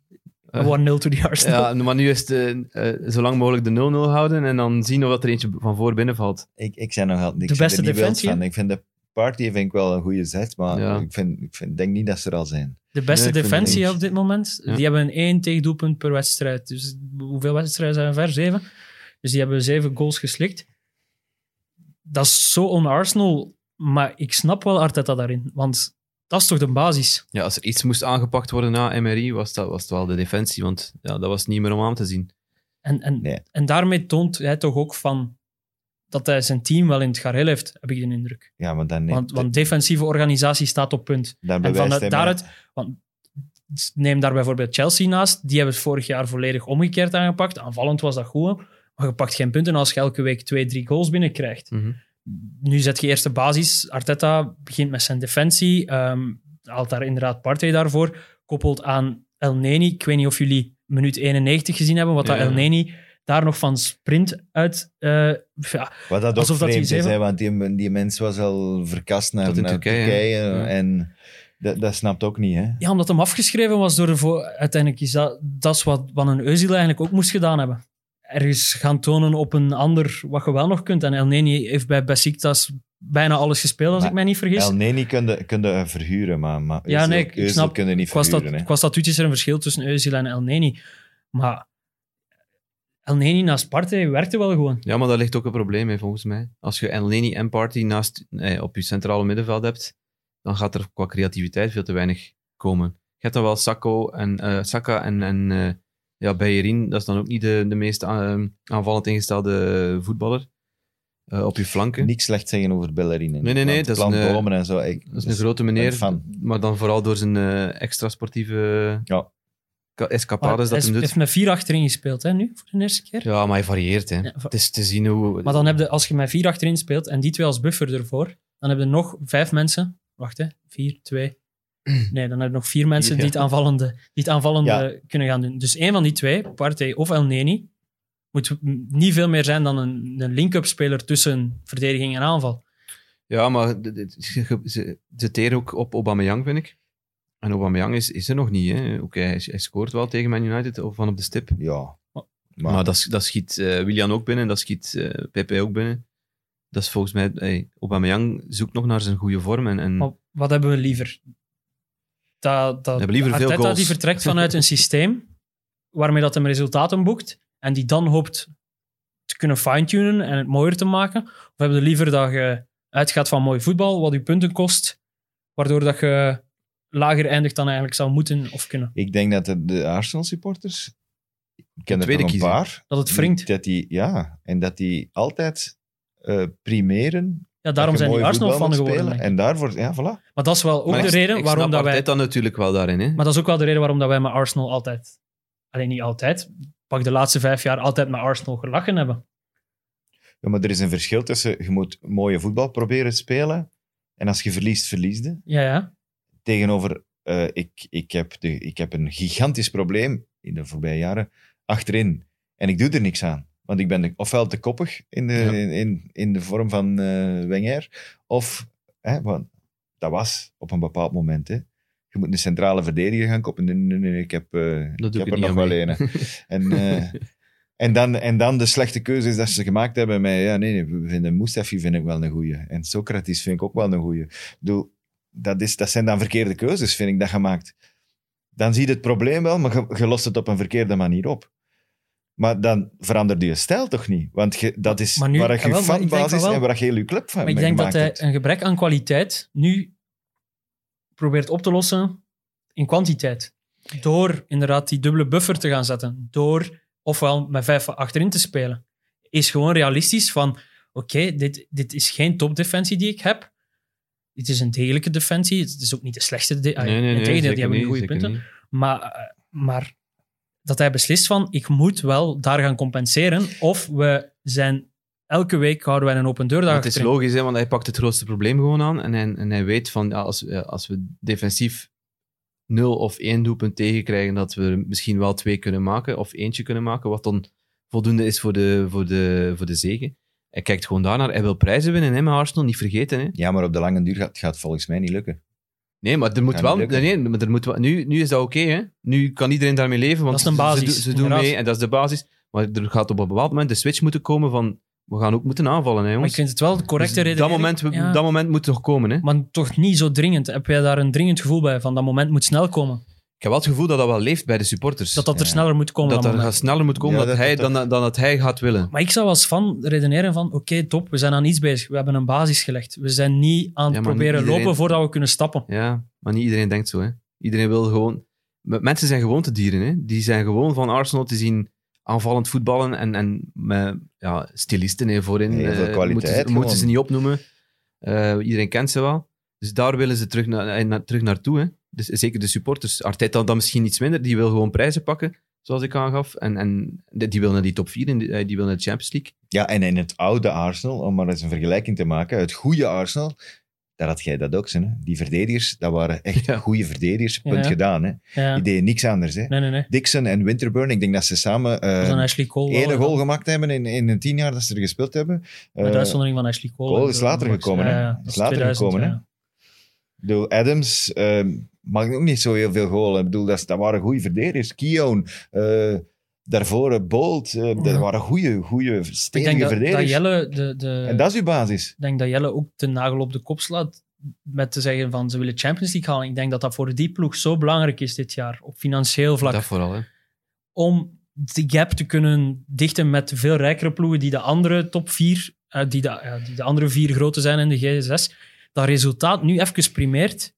Eh.
1-0 to the Arsenal.
Ja, maar nu is het eh, eh, zo lang mogelijk de 0-0 houden en dan zien of dat er eentje van voor binnen valt.
Ik, ik zijn nog altijd ik
De
ben er
beste
niet wild
defensie, hè?
van. Ik vind de party vind ik wel een goede zet, maar
Ja.
ik, vind, ik vind, denk niet dat ze er al zijn.
De beste
Nee, ik vind het
defensie
niet.
op dit moment.
Ja.
Die hebben een één tegendoelpunt per wedstrijd. Dus hoeveel wedstrijden zijn er ver? Zeven. Dus die hebben zeven goals geslikt. Dat is zo on-Arsenal. Maar ik snap wel Arteta daarin. Want dat is toch de basis.
Ja, als er iets moest aangepakt worden na MRI, was dat, was het wel de defensie, want ja, dat was niet meer om aan te zien.
En, en,
Nee.
en daarmee toont hij toch ook van dat hij zijn team wel in het gareel heeft, heb ik de indruk.
Ja, maar dan,
want, want defensieve organisatie staat op punt.
dan
En
bewijst
van
hij
het-
mij-
daaruit, want neem daar bijvoorbeeld Chelsea naast. Die hebben het vorig jaar volledig omgekeerd aangepakt. Aanvallend was dat goed, maar je pakt geen punten als je elke week twee, drie goals binnenkrijgt.
Mhm.
Nu zet je eerst de basis. Arteta begint met zijn defensie, ehm, haalt daar inderdaad Partey daarvoor, koppelt aan El Neni. Ik weet niet of jullie minuut 91 gezien hebben, wat dat
Ja.
El Neni daar nog van sprint uit... eh, ja,
Wat dat ook
alsof dat
vreemd
hij
is,
zeven-
hè, want die, die mens was al verkast naar,
Tot in
naar
Turkije,
Turkije.
hè? Ja.
En dat, dat snapt ook niet, hè.
ja, omdat hem afgeschreven was door de vo- Uiteindelijk is dat, dat is wat, wat een Eusil eigenlijk ook moest gedaan hebben. Ergens gaan tonen op een ander wat je wel nog kunt. En El Neni heeft bij Besiktas bijna alles gespeeld, als
Maar
ik mij niet vergis.
El Neni kunde, kunde verhuren, maar, maar
Ja,
Özil-
nee, ik- ik
Özil
snap.
kunde niet
Qua, stat,
verhuren, hè.
qua statuut is er een verschil tussen Eusil en El Neni. Maar El Neni naast Partey werkte wel gewoon.
Ja, maar daar ligt ook een probleem mee, volgens mij. Als je Elneny en Party naast, eh, op je centrale middenveld hebt, dan gaat er qua creativiteit veel te weinig komen. Je hebt dan wel Sacco en, eh, Saka en, en eh ja, Bellerin, dat is dan ook niet de, de meest aan- aanvallend ingestelde voetballer eh, op je flanken.
Niks slecht zeggen over Bellerin.
Nee, nee, nee, dat is een,
bomen en zo. Ik,
dat is een grote meneer,
dus fan.
maar dan vooral door zijn eh, extra sportieve
Ja.
ka-
Maar
escapades dat
hij
hem doet.
heeft met vier achterin gespeeld hè, nu, voor de eerste keer.
Ja, maar hij varieert. Hè.
Ja, va-
Het is te zien hoe...
Maar dan heb je, als je met vier achterin speelt en die twee als buffer ervoor, dan heb je nog vijf mensen. Wacht hè, vier, twee. Nee, dan heb je nog vier mensen die het aanvallende, die het aanvallende
Ja.
kunnen gaan doen. Dus één van die twee, Partey of El Neni, moet m- niet veel meer zijn dan een, een link-up speler tussen verdediging en aanval.
Ja, maar d- d- ze, ze, ze teren ook op Aubameyang, vind ik. En Aubameyang is, is er nog niet. hè. Oké, hij, hij scoort wel tegen Man United of van op de stip.
Ja.
Maar-
Maar, dat, s- dat schiet eh, Willian ook binnen, dat schiet eh, Pepe ook binnen. Dat is volgens mij... Hey, Aubameyang zoekt nog naar zijn goede vorm. En, en
Maar wat hebben we liever? Dat, dat
We hebben liever veel
Arteta
goals.
die vertrekt vanuit een systeem waarmee dat hem resultaten boekt en die dan hoopt te kunnen fine-tunen en het mooier te maken. Of hebben we liever dat je uitgaat van mooi voetbal, wat je punten kost, waardoor dat je lager eindigt dan eigenlijk zou moeten of kunnen.
Ik denk dat de, de Arsenal-supporters... Ik ken
De
er
tweede
nog een
kiezen.
paar.
Dat het wringt.
Dat die, ja, en dat die altijd eh, primeren
Ja, daarom
Dat je
zijn die
mooi
Arsenal
voetbal
fan
moet
geworden.
spelen.
denk ik.
En daarvoor, ja, voilà.
Maar dat is wel ook
Maar
de
ik-
reden
ik
waarom
snap
dat wij...
Arteta natuurlijk wel daarin. Hè.
Maar dat is ook wel de reden waarom dat wij met Arsenal altijd... Alleen niet altijd. Pak de laatste vijf jaar altijd met Arsenal gelachen hebben.
Ja, maar er is een verschil tussen, je moet mooie voetbal proberen te spelen, en als je verliest, verliesde.
Ja, ja.
Tegenover, eh, ik, ik, heb de, ik heb een gigantisch probleem in de voorbije jaren achterin. En ik doe er niks aan. Want ik ben de- ofwel te koppig in de,
Ja.
in, in, in de vorm van eh Wenger, of, hè, want dat was op een bepaald moment. Hè. Je moet een centrale verdediger gaan koppen. Nee, nee, nee, nee, ik heb, eh, ik
doe ik
heb er
niet
nog
aan
wel
mee.
een. hè. En, eh, en, dan, en dan de slechte keuzes dat ze gemaakt hebben. Met, ja, nee, nee, we vinden Mustafi vind ik wel een goeie. En Socrates vind ik ook wel een goeie. Ik bedoel, dat, is, dat zijn dan verkeerde keuzes, vind ik, dat gemaakt. Dan zie je het probleem wel, maar je, je lost het op een verkeerde manier op. Maar dan verandert je stijl toch niet? Want je- dat is
Maar nu-
waar je
jawel,
je
maar ik denk
fanbasis
wel-
en waar je heel je club van
Maar ik
mee
denk dat
gemaakt
eh, hij
hebt.
een gebrek aan kwaliteit nu probeert op te lossen in kwantiteit. Door inderdaad die dubbele buffer te gaan zetten. Door ofwel met vijf achterin te spelen. Is gewoon realistisch van, oké, dit, dit is geen topdefensie die ik heb. Dit is een degelijke defensie. Het is ook niet de slechtste. De- ah,
Nee, nee, nee,
Integendeel,
zeker
die hebben nu
niet,
goede
zeker
punten.
niet.
Maar, eh, maar dat hij beslist van, ik moet wel daar gaan compenseren. Of we zijn... Elke week houden wij een open deur daar
Maar het is
achterin.
logisch, hè, want hij pakt het grootste probleem gewoon aan. En hij, en hij weet van ja, als, eh, als we defensief 0 of 1 doelpunt tegenkrijgen, dat we er misschien wel twee kunnen maken of eentje kunnen maken. Wat dan voldoende is voor de, voor de, voor de zegen. Hij kijkt gewoon daarnaar. Hij wil prijzen winnen, hè, met Arsenal, niet vergeten. Hè.
Ja, maar op de lange duur gaat het volgens mij niet lukken.
Nee, maar er moet
Gaat
wel.
niet lukken.
Nee, maar er moet wel nu, nu is dat oké. hè. nu kan iedereen daarmee leven. Want
Dat is een
ze- ze
basis,
doen- Ze, doen
inderdaad.
mee en dat is de basis. Maar er gaat op een bepaald moment de switch moeten komen van. We gaan ook moeten aanvallen, hè,
Maar
jongens.
je kunt het wel de correcte
Dus
reden.
dat moment, we-
Ja.
dat moment moet toch komen, hè?
Maar toch niet zo dringend. Heb jij daar een dringend gevoel bij? Van dat moment moet snel komen.
Ik heb wel het gevoel dat dat wel leeft bij de supporters.
Dat dat er
Ja.
sneller moet komen.
dat
dan
er
moment.
gaat sneller moet komen
Ja,
dat
dat-
hij,
dat-
dan, dan dat hij gaat willen.
Maar ik zou als fan redeneren van oké, top, we zijn aan iets bezig. We hebben een basis gelegd. We zijn niet aan het
Ja, maar niet
proberen
iedereen-
lopen voordat we kunnen stappen.
Ja, maar niet iedereen denkt zo. Hè. Iedereen wil gewoon... M- Mensen zijn gewoontedieren. Hè. Die zijn gewoon van Arsenal te zien aanvallend voetballen en, en met ja, stilisten hè, voorin.
Heel veel
Eh,
kwaliteit
moeten, ze,
gewoon.
moeten ze niet opnoemen. Eh, iedereen kent ze wel. Dus daar willen ze terug, na, eh, na- terug naartoe. Hè. Dus, zeker de supporters. Arteta dan misschien iets minder. Die wil gewoon prijzen pakken, zoals ik aangaf. En, en die die wil naar die top 4, die, eh, die wil naar de Champions League.
Ja, en in het oude Arsenal, om maar eens een vergelijking te maken, het goede Arsenal, daar had jij dat ook. Hè? Die verdedigers, dat waren echt
Ja.
goede verdedigers, punt
Ja.
gedaan. Hè?
Ja.
Die deden niks anders. Hè?
Nee, nee, nee.
Dixon en Winterburn, ik denk dat ze samen
Dat is een
eh
Ashley Cole. wel,
één
ja.
goal gemaakt hebben in, in de tien jaar dat ze er gespeeld hebben.
Met
Eh,
uitzondering van Ashley Cole.
Cole is later
Ja,
gekomen, hè.
ja, ja.
Is
Dat is
later
2000,
gekomen, hè.
ja.
Ik bedoel, Adams eh, maakt ook niet zo heel veel goal. Ik bedoel, dat, is- dat waren goede verdedigers. Keown, eh, daarvoor eh, Bolt, eh, dat
Ja.
waren goede, goede,
Ik
stevige
denk dat,
verdedigers.
dat Jelle de, de,
En dat is uw basis.
Ik denk dat Jelle ook de nagel op de kop slaat met te zeggen van ze willen Champions League halen. Ik denk dat dat voor die ploeg zo belangrijk is dit jaar, op financieel vlak,
Dat vooral, hè.
om de gap te kunnen dichten met de veel rijkere ploegen die de andere top vier, eh, die, de, ja, die de andere vier grote zijn in de G6, dat resultaat nu even primeert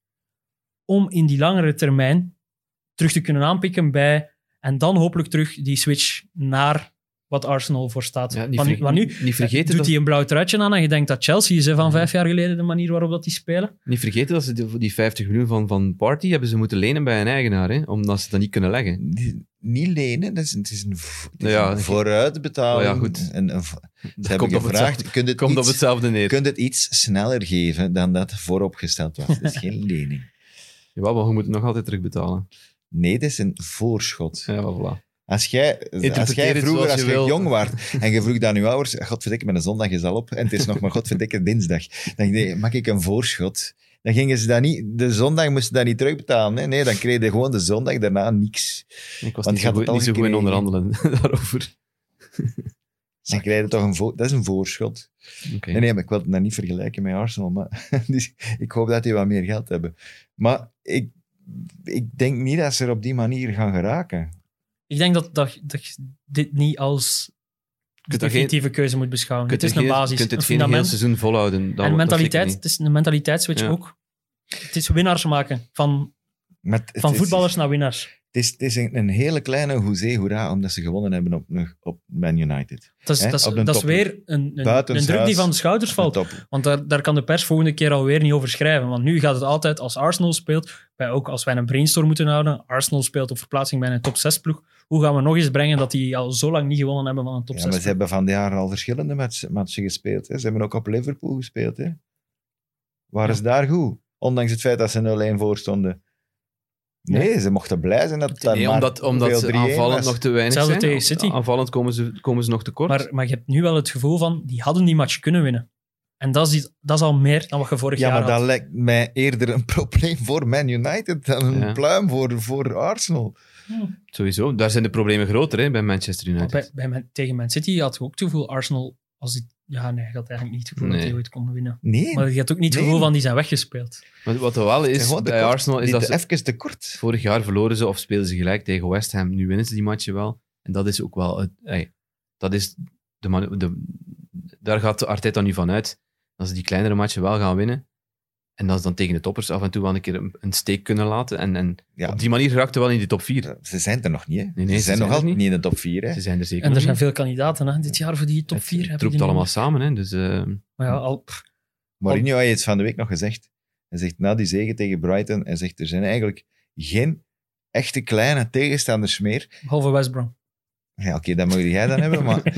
om in die langere termijn terug te kunnen aanpikken bij en dan hopelijk terug die switch naar wat Arsenal voor staat.
Ja, niet
Want nu-
ver-
want nu,
niet vergeten
doet
dat-
hij een blauw truitje aan en je denkt dat Chelsea is hè, van
Ja.
vijf jaar geleden de manier waarop dat die spelen.
Niet vergeten dat ze die, die 50 miljoen van, van Party hebben ze moeten lenen bij een eigenaar, hè, omdat ze dat niet kunnen leggen.
Ni- niet lenen, dat is, het is een, v- het is
Ja,
een
ik-
vooruitbetaling.
Oh ja, goed.
Een, een v-
Dat
ze hebben
komt op hetzelfde-
gevraagd, kunt het,
komt op
iets,
hetzelfde neer.
kunt het iets sneller geven dan dat vooropgesteld was. Dat is geen lening.
Jawel, maar je moet het nog altijd terugbetalen.
Nee, dat is een voorschot.
Ja, wel, voilà.
Als jij, als
Interpreteer
jij
het
vroeger,
zoals
als
je
jij
wil.
jong was en je vroeg aan je ouders, godverdikke, mijn zondag is al op en het is nog maar godverdikke dinsdag. Dan denk je, mag ik een voorschot? Dan gingen ze dat niet, de zondag moesten ze dat niet terugbetalen. hè. Nee, dan kreeg je gewoon de zondag daarna niks.
Ik was
je
niet zo,
had
goed,
het al
niet zo goed in
gekregen.
onderhandelen daarover.
Dan krijg je toch een, vo- dat is een voorschot.
Oké.
Nee, nee, maar ik wil het nou niet vergelijken met Arsenal. Maar dus ik hoop dat die wat meer geld hebben. Maar ik, ik denk niet dat ze er op die manier gaan geraken.
Ik denk dat, dat, dat je dit niet als de
kunt er
definitieve keuze moet beschouwen.
kunt
Het is
er
een
geen-
basis,
kunt het
een
geen heel
fundament.
seizoen volhouden. Dat,
en
dat zeker
mentaliteit,
niet.
het is een mentaliteitsswitch
Ja.
ook. Het is winnaars maken, van,
Maar het-
van
het is-
voetballers naar winnaars.
Het is, het is een, een hele kleine hoezee hoera omdat ze gewonnen hebben op, op Man United.
Dat is,
Hè,
dat is,
op een
dat is
topper.
weer een, een,
Buitenshuis.
een druk die van de schouders valt.
Top.
Want daar, daar kan de pers volgende keer alweer niet over schrijven. Want nu gaat het altijd, als Arsenal speelt, wij ook als wij een brainstorm moeten houden, Arsenal speelt op verplaatsing bij een top 6 ploeg, hoe gaan we nog eens brengen dat die al zo lang niet gewonnen hebben van een top
Ja,
6
maar ze hebben van de jaren al verschillende match- matchen gespeeld. Hè. Ze hebben ook op Liverpool gespeeld. Hè. Waren ze daar goed? Ondanks het feit dat ze 0-1 voor stonden. Nee, ze mochten blij zijn dat het daar
Nee,
maar
omdat, omdat
hoeveel,
ze
3-1
aanvallend
was.
nog te weinig
Hetzelfde
zijn.
tegen City.
Aanvallend komen ze, komen ze nog tekort.
Maar, maar je hebt nu wel het gevoel van, die hadden die match kunnen winnen. En dat is, iets- dat is al meer dan wat je vorig
Ja,
jaar
maar dat
had.
lijkt mij eerder een probleem voor Man United dan een
Ja.
pluim voor, voor Arsenal.
Hmm. Sowieso, daar zijn de problemen groter hè, bij Manchester
Maar
United.
Bij, bij Man- tegen Man City had je ook het gevoel, Arsenal, als die, ja, nee, je had eigenlijk niet het gevoel dat
Nee.
die ooit kon winnen.
Nee,
Maar je had ook niet het
Nee.
gevoel van, die zijn weggespeeld.
Maar wat er wel
het
is
gewoon
bij
tekort.
Arsenal, is
Die
dat
te-
ze,
even te kort.
vorig jaar verloren ze of speelden ze gelijk tegen West Ham. Nu winnen ze die matchen wel. En dat is ook wel... Het, ey, dat is de manu- de, daar gaat Arteta nu van uit. Dat ze die kleinere matchen wel gaan winnen. En dat ze dan tegen de toppers af en toe wel een keer een, een steek kunnen laten. En, en
Ja,
op die manier raakten wel in die top 4.
ze zijn er nog niet. Hè.
nee,
ze,
ze
zijn
zijn
nog
er
altijd
niet.
niet in de top 4. Hè.
Ze zijn er zeker
En er
nog
zijn
niet.
veel kandidaten hè, dit jaar voor die top
Het
4. hebben
troept
die
allemaal
niet.
samen. Hè, dus, eh,
Maar ja, al, pff,
Mourinho heeft het van de week nog gezegd. Hij zegt na die zege tegen Brighton, hij zegt er zijn eigenlijk geen echte kleine tegenstanders meer.
behalve West Brom.
Ja, oké, dat mag jij dan hebben, maar
Nee,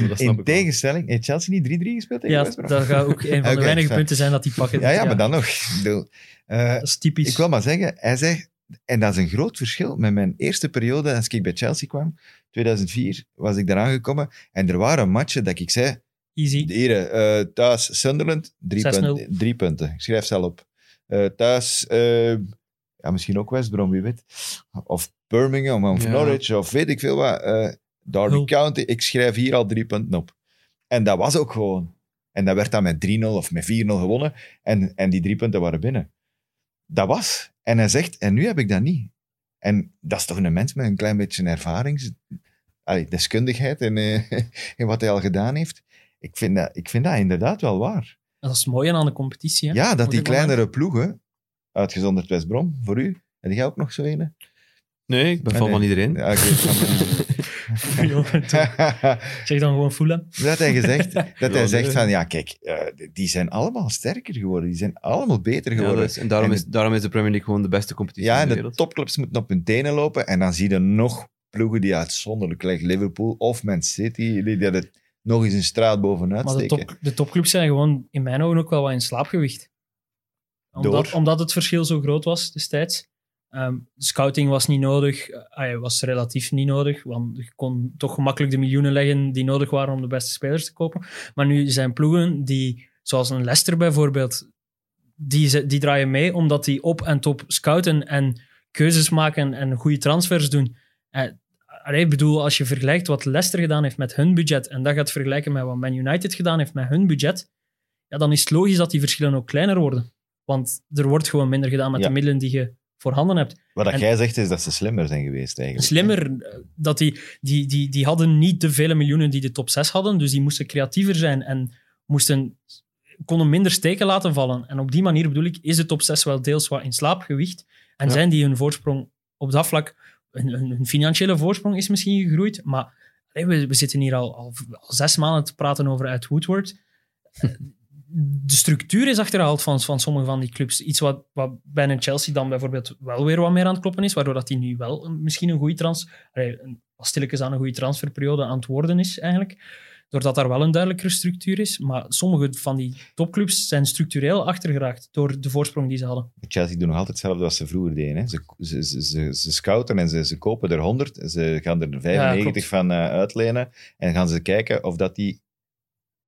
maar
in,
dat snap
in
ik wel.
tegenstelling... Heeft Chelsea niet 3-3 gespeeld tegen
Ja,
West Brom?
dat gaat ook een van
Oké,
de weinige
fijn.
punten zijn dat die pakken.
Ja, ja, maar dan nog. Ik bedoel, eh,
Dat is typisch.
Ik wil maar zeggen, hij zegt, en dat is een groot verschil met mijn eerste periode als ik bij Chelsea kwam. 2004 was ik daar aangekomen en er waren matchen dat ik zei:
Easy.
hier, eh, thuis Sunderland, drie,
6-0.
punten- drie punten. Ik schrijf ze al op. Eh, thuis, eh, ja, misschien ook West Brom, wie weet. Of Birmingham, of
Ja.
Norwich, of weet ik veel wat. eh, Derby
Nul.
County, ik schrijf hier al drie punten op. En dat was ook gewoon. En dat werd dan met 3-0 of met 4-0 gewonnen. En, en die drie punten waren binnen. Dat was. En hij zegt, en nu heb ik dat niet. En dat is toch een mens met een klein beetje ervaring, allee, deskundigheid en eh, in wat hij al gedaan heeft. Ik vind dat, ik vind dat inderdaad wel waar.
Dat is het mooie aan de competitie.
Ja,
Hè?
dat
Moet
die
ik wel
kleinere ploegen, uitgezonderd West Brom, voor u, en jij ook nog eh? zo ene?
Nee, ik ben
Ah,
fan
nee.
van iedereen.
Ja, ik weet
zeggen.
het.
zeg dan gewoon voelen.
dat hij, gezegd, dat hij
Ja,
zegt
nee.
van, ja kijk, eh, die zijn allemaal sterker geworden, die zijn allemaal beter
Ja,
geworden.
dat is- en daarom,
En
is, daarom is de Premier League gewoon de beste competitie
Ja,
in
en
de
de
wereld.
topclubs moeten op hun tenen lopen. En dan zie je nog ploegen die uitzonderlijk lijkt Liverpool of Man City, die dat het nog eens een straat bovenuit
Maar de,
steken.
top, de topclubs zijn gewoon in mijn ogen ook wel wat in slaapgewicht. Omdat,
Door?
omdat het verschil zo groot was destijds. Ehm, scouting was niet nodig, eh, ah ja, was relatief niet nodig, want je kon toch gemakkelijk de miljoenen leggen die nodig waren om de beste spelers te kopen. Maar nu zijn ploegen die, zoals een Leicester bijvoorbeeld, die, ze- die draaien mee omdat die op en top scouten en keuzes maken en goede transfers doen. Eh, allee, ik bedoel, als je vergelijkt wat Leicester gedaan heeft met hun budget en dat gaat vergelijken met wat Man United gedaan heeft met hun budget, ja, dan is het logisch dat die verschillen ook kleiner worden. Want er wordt gewoon minder gedaan met
Ja.
de middelen die je voorhanden hebt.
Wat dat
en-
jij zegt is dat ze slimmer zijn geweest eigenlijk.
Slimmer, eh, dat die, die, die, die hadden niet de vele miljoenen die de top 6 hadden, dus die moesten creatiever zijn en moesten, konden minder steken laten vallen. En op die manier bedoel ik, is de top 6 wel deels wat in slaapgewicht en
Ja.
zijn die hun voorsprong op dat vlak, hun, hun- hun financiële voorsprong is misschien gegroeid, maar hey, we, we zitten hier al, al, al zes maanden te praten over uit Woodward. Eh, De structuur is achterhaald van, van sommige van die clubs. Iets wat, wat bij een Chelsea dan bijvoorbeeld wel weer wat meer aan het kloppen is, waardoor dat die nu wel een- misschien een goede trans, allee, een- als stilletjes aan een goede transferperiode aan het worden is, eigenlijk. Doordat daar wel een duidelijkere structuur is. Maar sommige van die topclubs zijn structureel achtergeraakt door de voorsprong die ze hadden.
Chelsea doen nog altijd hetzelfde wat ze vroeger deden. Hè. Ze, ze, ze, ze, ze scouten en ze, ze kopen er 100. en Ze gaan er 95
klopt.
van eh, uitlenen. En gaan ze kijken of dat die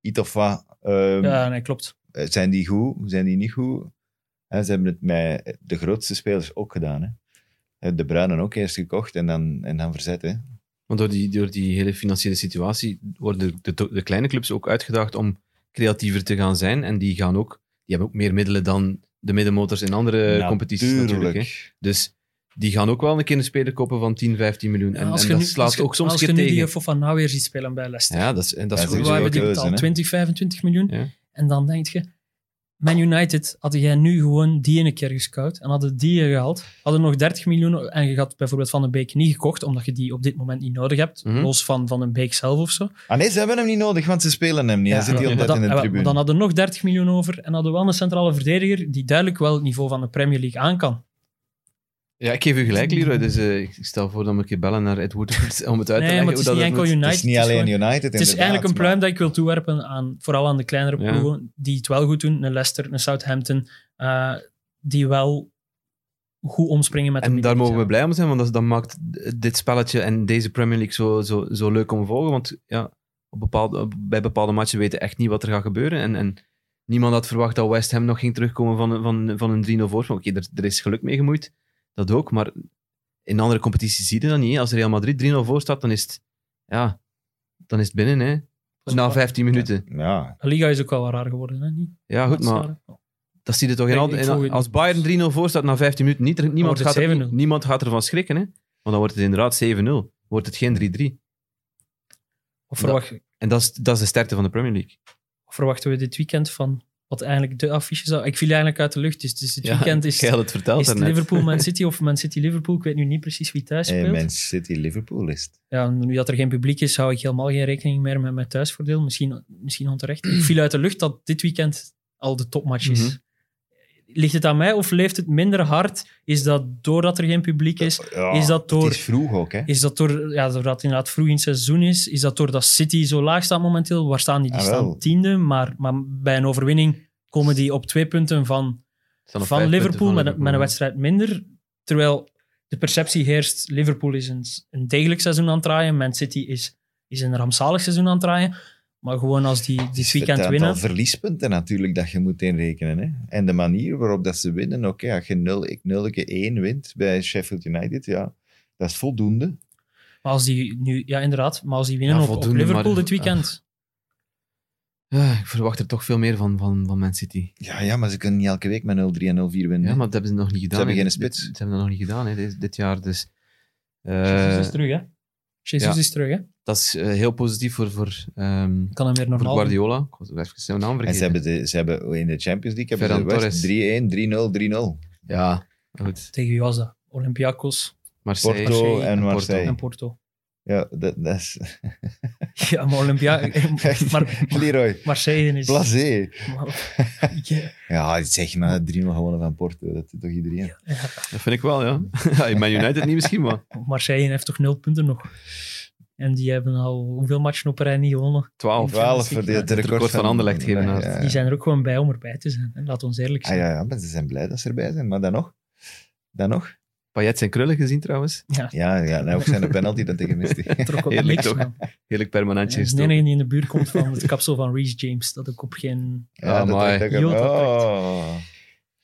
iets of wat... ehm,
Ja, nee, klopt.
eh, Zijn die goed? Zijn die niet goed? Hè, ze hebben het met de grootste spelers ook gedaan. Hè. Eh, De Bruinen ook eerst gekocht en dan, en dan verzet. Hè.
Want door die, door die hele financiële situatie worden de, de, de kleine clubs ook uitgedaagd om creatiever te gaan zijn. En die, gaan ook, die hebben ook meer middelen dan de middenmotors in andere competities natuurlijk. Hè. Dus die gaan ook wel een keer een speler kopen van 10, 15 miljoen. En, en
je
dat
nu-
slaat
als je-
ook soms een
Als je
keer
nu die
tegen.
Fofana weer ziet spelen bij Leicester.
Ja, dat is, en dat
Ja,
is
dat is
goed.
ook
Waar we
een
die
keuze,
betaald
hè?
20, 25 miljoen.
Ja.
En dan denk je, Man United, had jij nu gewoon die ene keer gescout en hadden die je gehaald, hadden nog 30 miljoen en je had bijvoorbeeld Van den Beek niet gekocht, omdat je die op dit moment niet nodig hebt,
Mhm.
los van Van den Beek zelf of zo.
Ah nee, ze hebben hem niet nodig, want ze spelen hem niet. hij zit
Ja,
de hele
maar
tijd
dan,
in de
maar
tribune.
Dan hadden we nog 30 miljoen over en hadden we wel een centrale verdediger die duidelijk wel het niveau van de Premier League aan kan.
Ja, ik geef u gelijk, Leroy. Dus eh, ik stel voor dat we een keer bellen naar Ed Woodward om het uit te
nee,
leggen.
maar het is
hoe
niet
dat
enkel
moet.
United.
het is niet
het
alleen
gewoon-
United,
Het is eigenlijk een
maar-
pluim dat ik wil toewerpen aan, vooral aan de kleinere
Ja.
ploegen, die het wel goed doen. Een Leicester, een Southampton, eh, die wel goed omspringen met de
En daar
middenveld.
mogen we blij om zijn, want dat, dat maakt dit spelletje en deze Premier League zo, zo, zo leuk om te volgen. Want ja, op bepaalde, op- bij bepaalde matchen weten echt niet wat er gaat gebeuren. En, en niemand had verwacht dat West Ham nog ging terugkomen van, een- van, van een 3-0 voorsprong. Oké, er, er is geluk mee gemoeid, dat ook. Maar in andere competities zie je dat niet. hè. Als Real Madrid 3-0 voor staat, dan is het, ja, dan is het binnen. Hè.
is
Na
wel-
15 minuten.
Ja, eh,
De Liga is ook wel wat raar geworden. Hè? Niet
Ja, Ah, goed,
laatste
maar
jaren.
dat zie je toch in
Ik-
al,
ik
in-
volg het
Als
niet.
Bayern 3-0 voor staat na 15 minuten, niet, er- niemand,
wordt
gaat
het
er,
7-0.
niemand gaat ervan schrikken. Hè? Want dan wordt het inderdaad 7-0. Wordt het geen 3-3.
Of verwacht,
En dat is, dat is de sterkte van de Premier League.
of verwachten we dit weekend van wat eigenlijk de affiche zou... Ik viel eigenlijk uit de lucht, dus, dus dit weekend is,
Jij had het verteld
is het
daarnet.
Liverpool-Man City of Man City-Liverpool. Ik weet nu niet precies wie thuis
hey,
speelt.
Man City Liverpool is het.
ja, nu dat er geen publiek is, hou ik helemaal geen rekening meer met mijn thuisvoordeel. Misschien, misschien onterecht. Ik viel uit de lucht dat dit weekend al de topmatch is.
Mhm.
Ligt het aan mij of leeft het minder hard? Is dat doordat er geen publiek is?
Ja,
Is dat door-
Ah, Het is vroeg ook, hè?
Is dat door, ja, doordat het inderdaad vroeg in het seizoen is? Is dat doordat City zo laag staat momenteel? Waar staan die? Die
Ah, wel.
staan tiende, maar, maar bij een overwinning komen die op twee punten van
Het staan op
van
vijf punten
Liverpool,
van
met, een- met een
ja.
wedstrijd minder. Terwijl de perceptie heerst, Liverpool is een, een degelijk seizoen aan het draaien, Man City is, is een rampzalig seizoen aan het draaien. Maar gewoon als die dit
Het
weekend
aantal
winnen...
verliespunten natuurlijk dat je moet inrekenen. Hè? En de manier waarop dat ze winnen. Oké, als je 0 0 1 wint bij Sheffield United, ja, dat is voldoende.
Maar als die nu, ja, inderdaad, maar als die winnen
Ja,
op- op,
voldoende,
Liverpool
maar-
dit weekend...
Ja, ik verwacht er toch veel meer van, van, van Man City.
Ja, ja, maar ze kunnen niet elke week met 0-3 en 0-4 winnen.
Ja,
hè.
maar dat hebben ze nog niet gedaan.
hebben
hè.
geen spits.
Dit, ze hebben dat nog niet gedaan hè, dit, dit jaar. Dus, eh,
Jesus is terug, hè? Jesus
ja.
is terug, hè?
dat is eh, heel positief voor, voor, ehm,
Kan
voor
hem weer normaal doen.
Guardiola. Ik was even zijn naam vergeten.
en ze hebben, de, ze hebben in de Champions League hebben
Ferran
ze West
Torres.
3-1, 3-0, 3-0.
Ja, goed.
Tegen wie was dat? Olympiakos
Marseille,
Porto
Marseille
en Marseille.
en Porto.
Ja, dat, dat is...
Ja, maar Olympiakos... maar,
Leroy,
Marseille is...
blasé.
maar- ja.
Ja, zeg maar, 3-0 gewonnen van Porto. Dat doet toch iedereen?
Dat vind ik wel, ja. In Man United niet misschien, maar
Marseille heeft toch nul punten nog? En die hebben al hoeveel matchen op rij niet gewonnen.
12.
Ja,
12
dat
voor
is
de,
niet-
het
Het record van Anderlecht geven
Ja,
uit.
ja.
Die zijn er ook gewoon bij om erbij te zijn. En laat ons eerlijk
Ah,
zijn.
ja, ja, maar ze zijn blij dat ze erbij zijn. Maar dan nog? Dan nog?
Payet zijn krullen gezien trouwens.
ja.
Ja, ja nou, ook zijn de penalty dat tegen mist.
Ah,
trok ook
Heerlijk
niks,
toch?
man.
Heerlijk
Ja,
permanentje
dat is de
gestoken.
enige die in de buurt komt van het kapsel van Reece James. Dat ik op geen...
Ja, dat
Amai.
dacht ik ook.
Jota
Oh.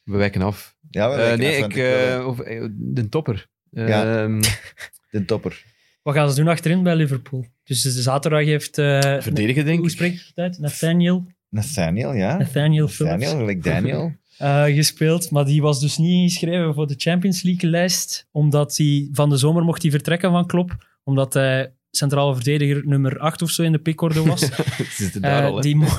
We wijken af.
Ja, we
Eh,
lijken
nee,
Oh, af van
ik,
de krullen.
eh, of, eh, de topper. Eh,
Ja.
ehm,
De topper.
Wat gaan ze doen achterin bij Liverpool? Dus de zaterdag heeft... eh,
verdedigen, denk
hoe
ik.
spreek je het uit? Nathaniel,
Nathaniel, ja.
Nathaniel Phillips
Nathaniel, gelijk Daniel.
eh, gespeeld. Maar die was dus niet ingeschreven voor de Champions League-lijst. Omdat hij van de zomer mocht hij vertrekken van Klopp. Omdat hij centrale verdediger nummer 8 of zo in de pickorde was.
Ze zitten daar
Eh,
al, hè.
die, mo-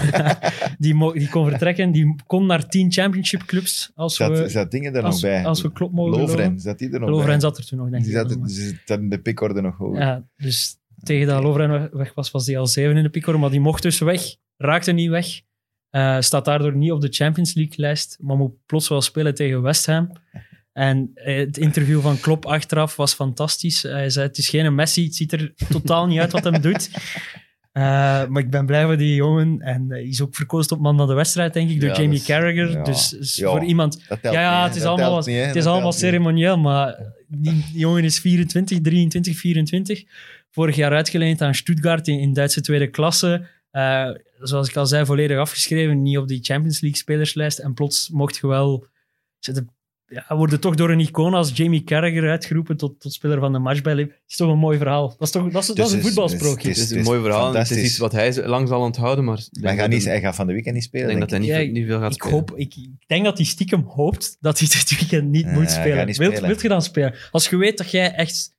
die, mo- die kon vertrekken. Die kon naar tien championship clubs als
Zat,
we,
zat dingen er nog
als,
bij?
als we klopt mogen
Lovren, zat die er nog
geloven. Lovren
bij?
zat er toen nog, denk
Die
ik.
zat,
nog,
die zat in de pikorde nog
maar-
hoger.
ja, dus tegen dat Lovren we- weg was, was hij al zeven in de picor. Maar die mocht dus weg. Raakte niet weg. eh, staat daardoor niet op de Champions League-lijst. Maar moet plots wel spelen tegen West Ham. En eh, het interview van Klopp achteraf was fantastisch. Hij zei, het is geen Messi. Het ziet er totaal niet uit wat hem doet. Eh, maar ik ben blij voor die jongen. En eh, hij is ook verkozen tot man van de wedstrijd, denk ik, door
Ja,
Jamie
dat is-
Carragher.
ja.
Dus, is
Ja.
voor iemand...
Dat
Ja,
telt
ja,
niet,
het is
hè. Dat
allemaal,
telt niet, hè.
het
Dat
is allemaal
telt niet.
ceremonieel, maar die jongen is 24, 23, 24. Vorig jaar uitgeleend aan Stuttgart in, in Duitse tweede klasse. Eh, zoals ik al zei, volledig afgeschreven. Niet op die Champions League spelerslijst. En plots mocht je wel... Zitten, ja, worden toch door een icoon als Jamie Carragher uitgeroepen tot, tot speler van de match bij Liverpool. Dat is toch een mooi verhaal. Dat is, toch, dat is, dat is een
Dus het is-
voetbalsprookje.
Het is
het
een
is
mooi verhaal. en Het is
fantastisch.
iets wat hij z- lang zal onthouden, maar... ik
Maar
denk
hij gaat,
dat
niet,
hem-
hij gaat van de weekend niet
Ik
spelen.
denk dat hij niet,
Ja,
veel- niet veel gaat
Ik,
spelen.
hoop, ik, ik denk dat hij stiekem hoopt dat hij dit weekend niet
Nee,
moet
hij gaat
spelen.
niet
Wilt,
spelen.
wilt je dan spelen? Als je weet dat jij echt...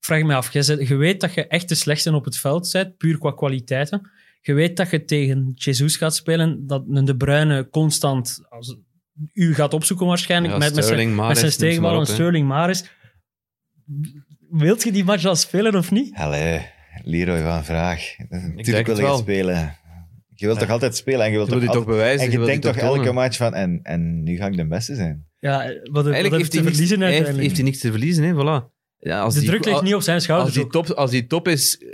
Vraag me af. jij zet- je weet dat je echt de slechtste op het veld bent, puur qua kwaliteiten. Je weet dat je tegen Jesus gaat spelen, dat een De Bruyne constant als, u gaat opzoeken waarschijnlijk
Ja,
met, met zijn,
Sterling, Mahrez,
met zijn
noem ze maar
stegenbal en
op, hè.
Sterling Maris. Wilt je die match dan spelen of niet?
Allee, Leroy van Vraag.
denk
Natuurlijk
het
wil je
wel.
het spelen. Je wilt
Ja.
toch altijd spelen en je wilt
Je wil
toch
die toch
altijd-
bewijzen.
En
je
je
wil die
denkt toch
toch tonen.
elke match van, en, en nu ga ik de beste zijn.
Ja, wat, wat
Eigenlijk heeft
heeft hij
hij,
te
niks,
verliezen
hij heeft,
uiteindelijk?
heeft hij niks te verliezen, hè, voilà. Ja, als
de
die,
druk ligt
al-
niet op zijn
als
schouders.
die,
ook.
top, als die top is, eh,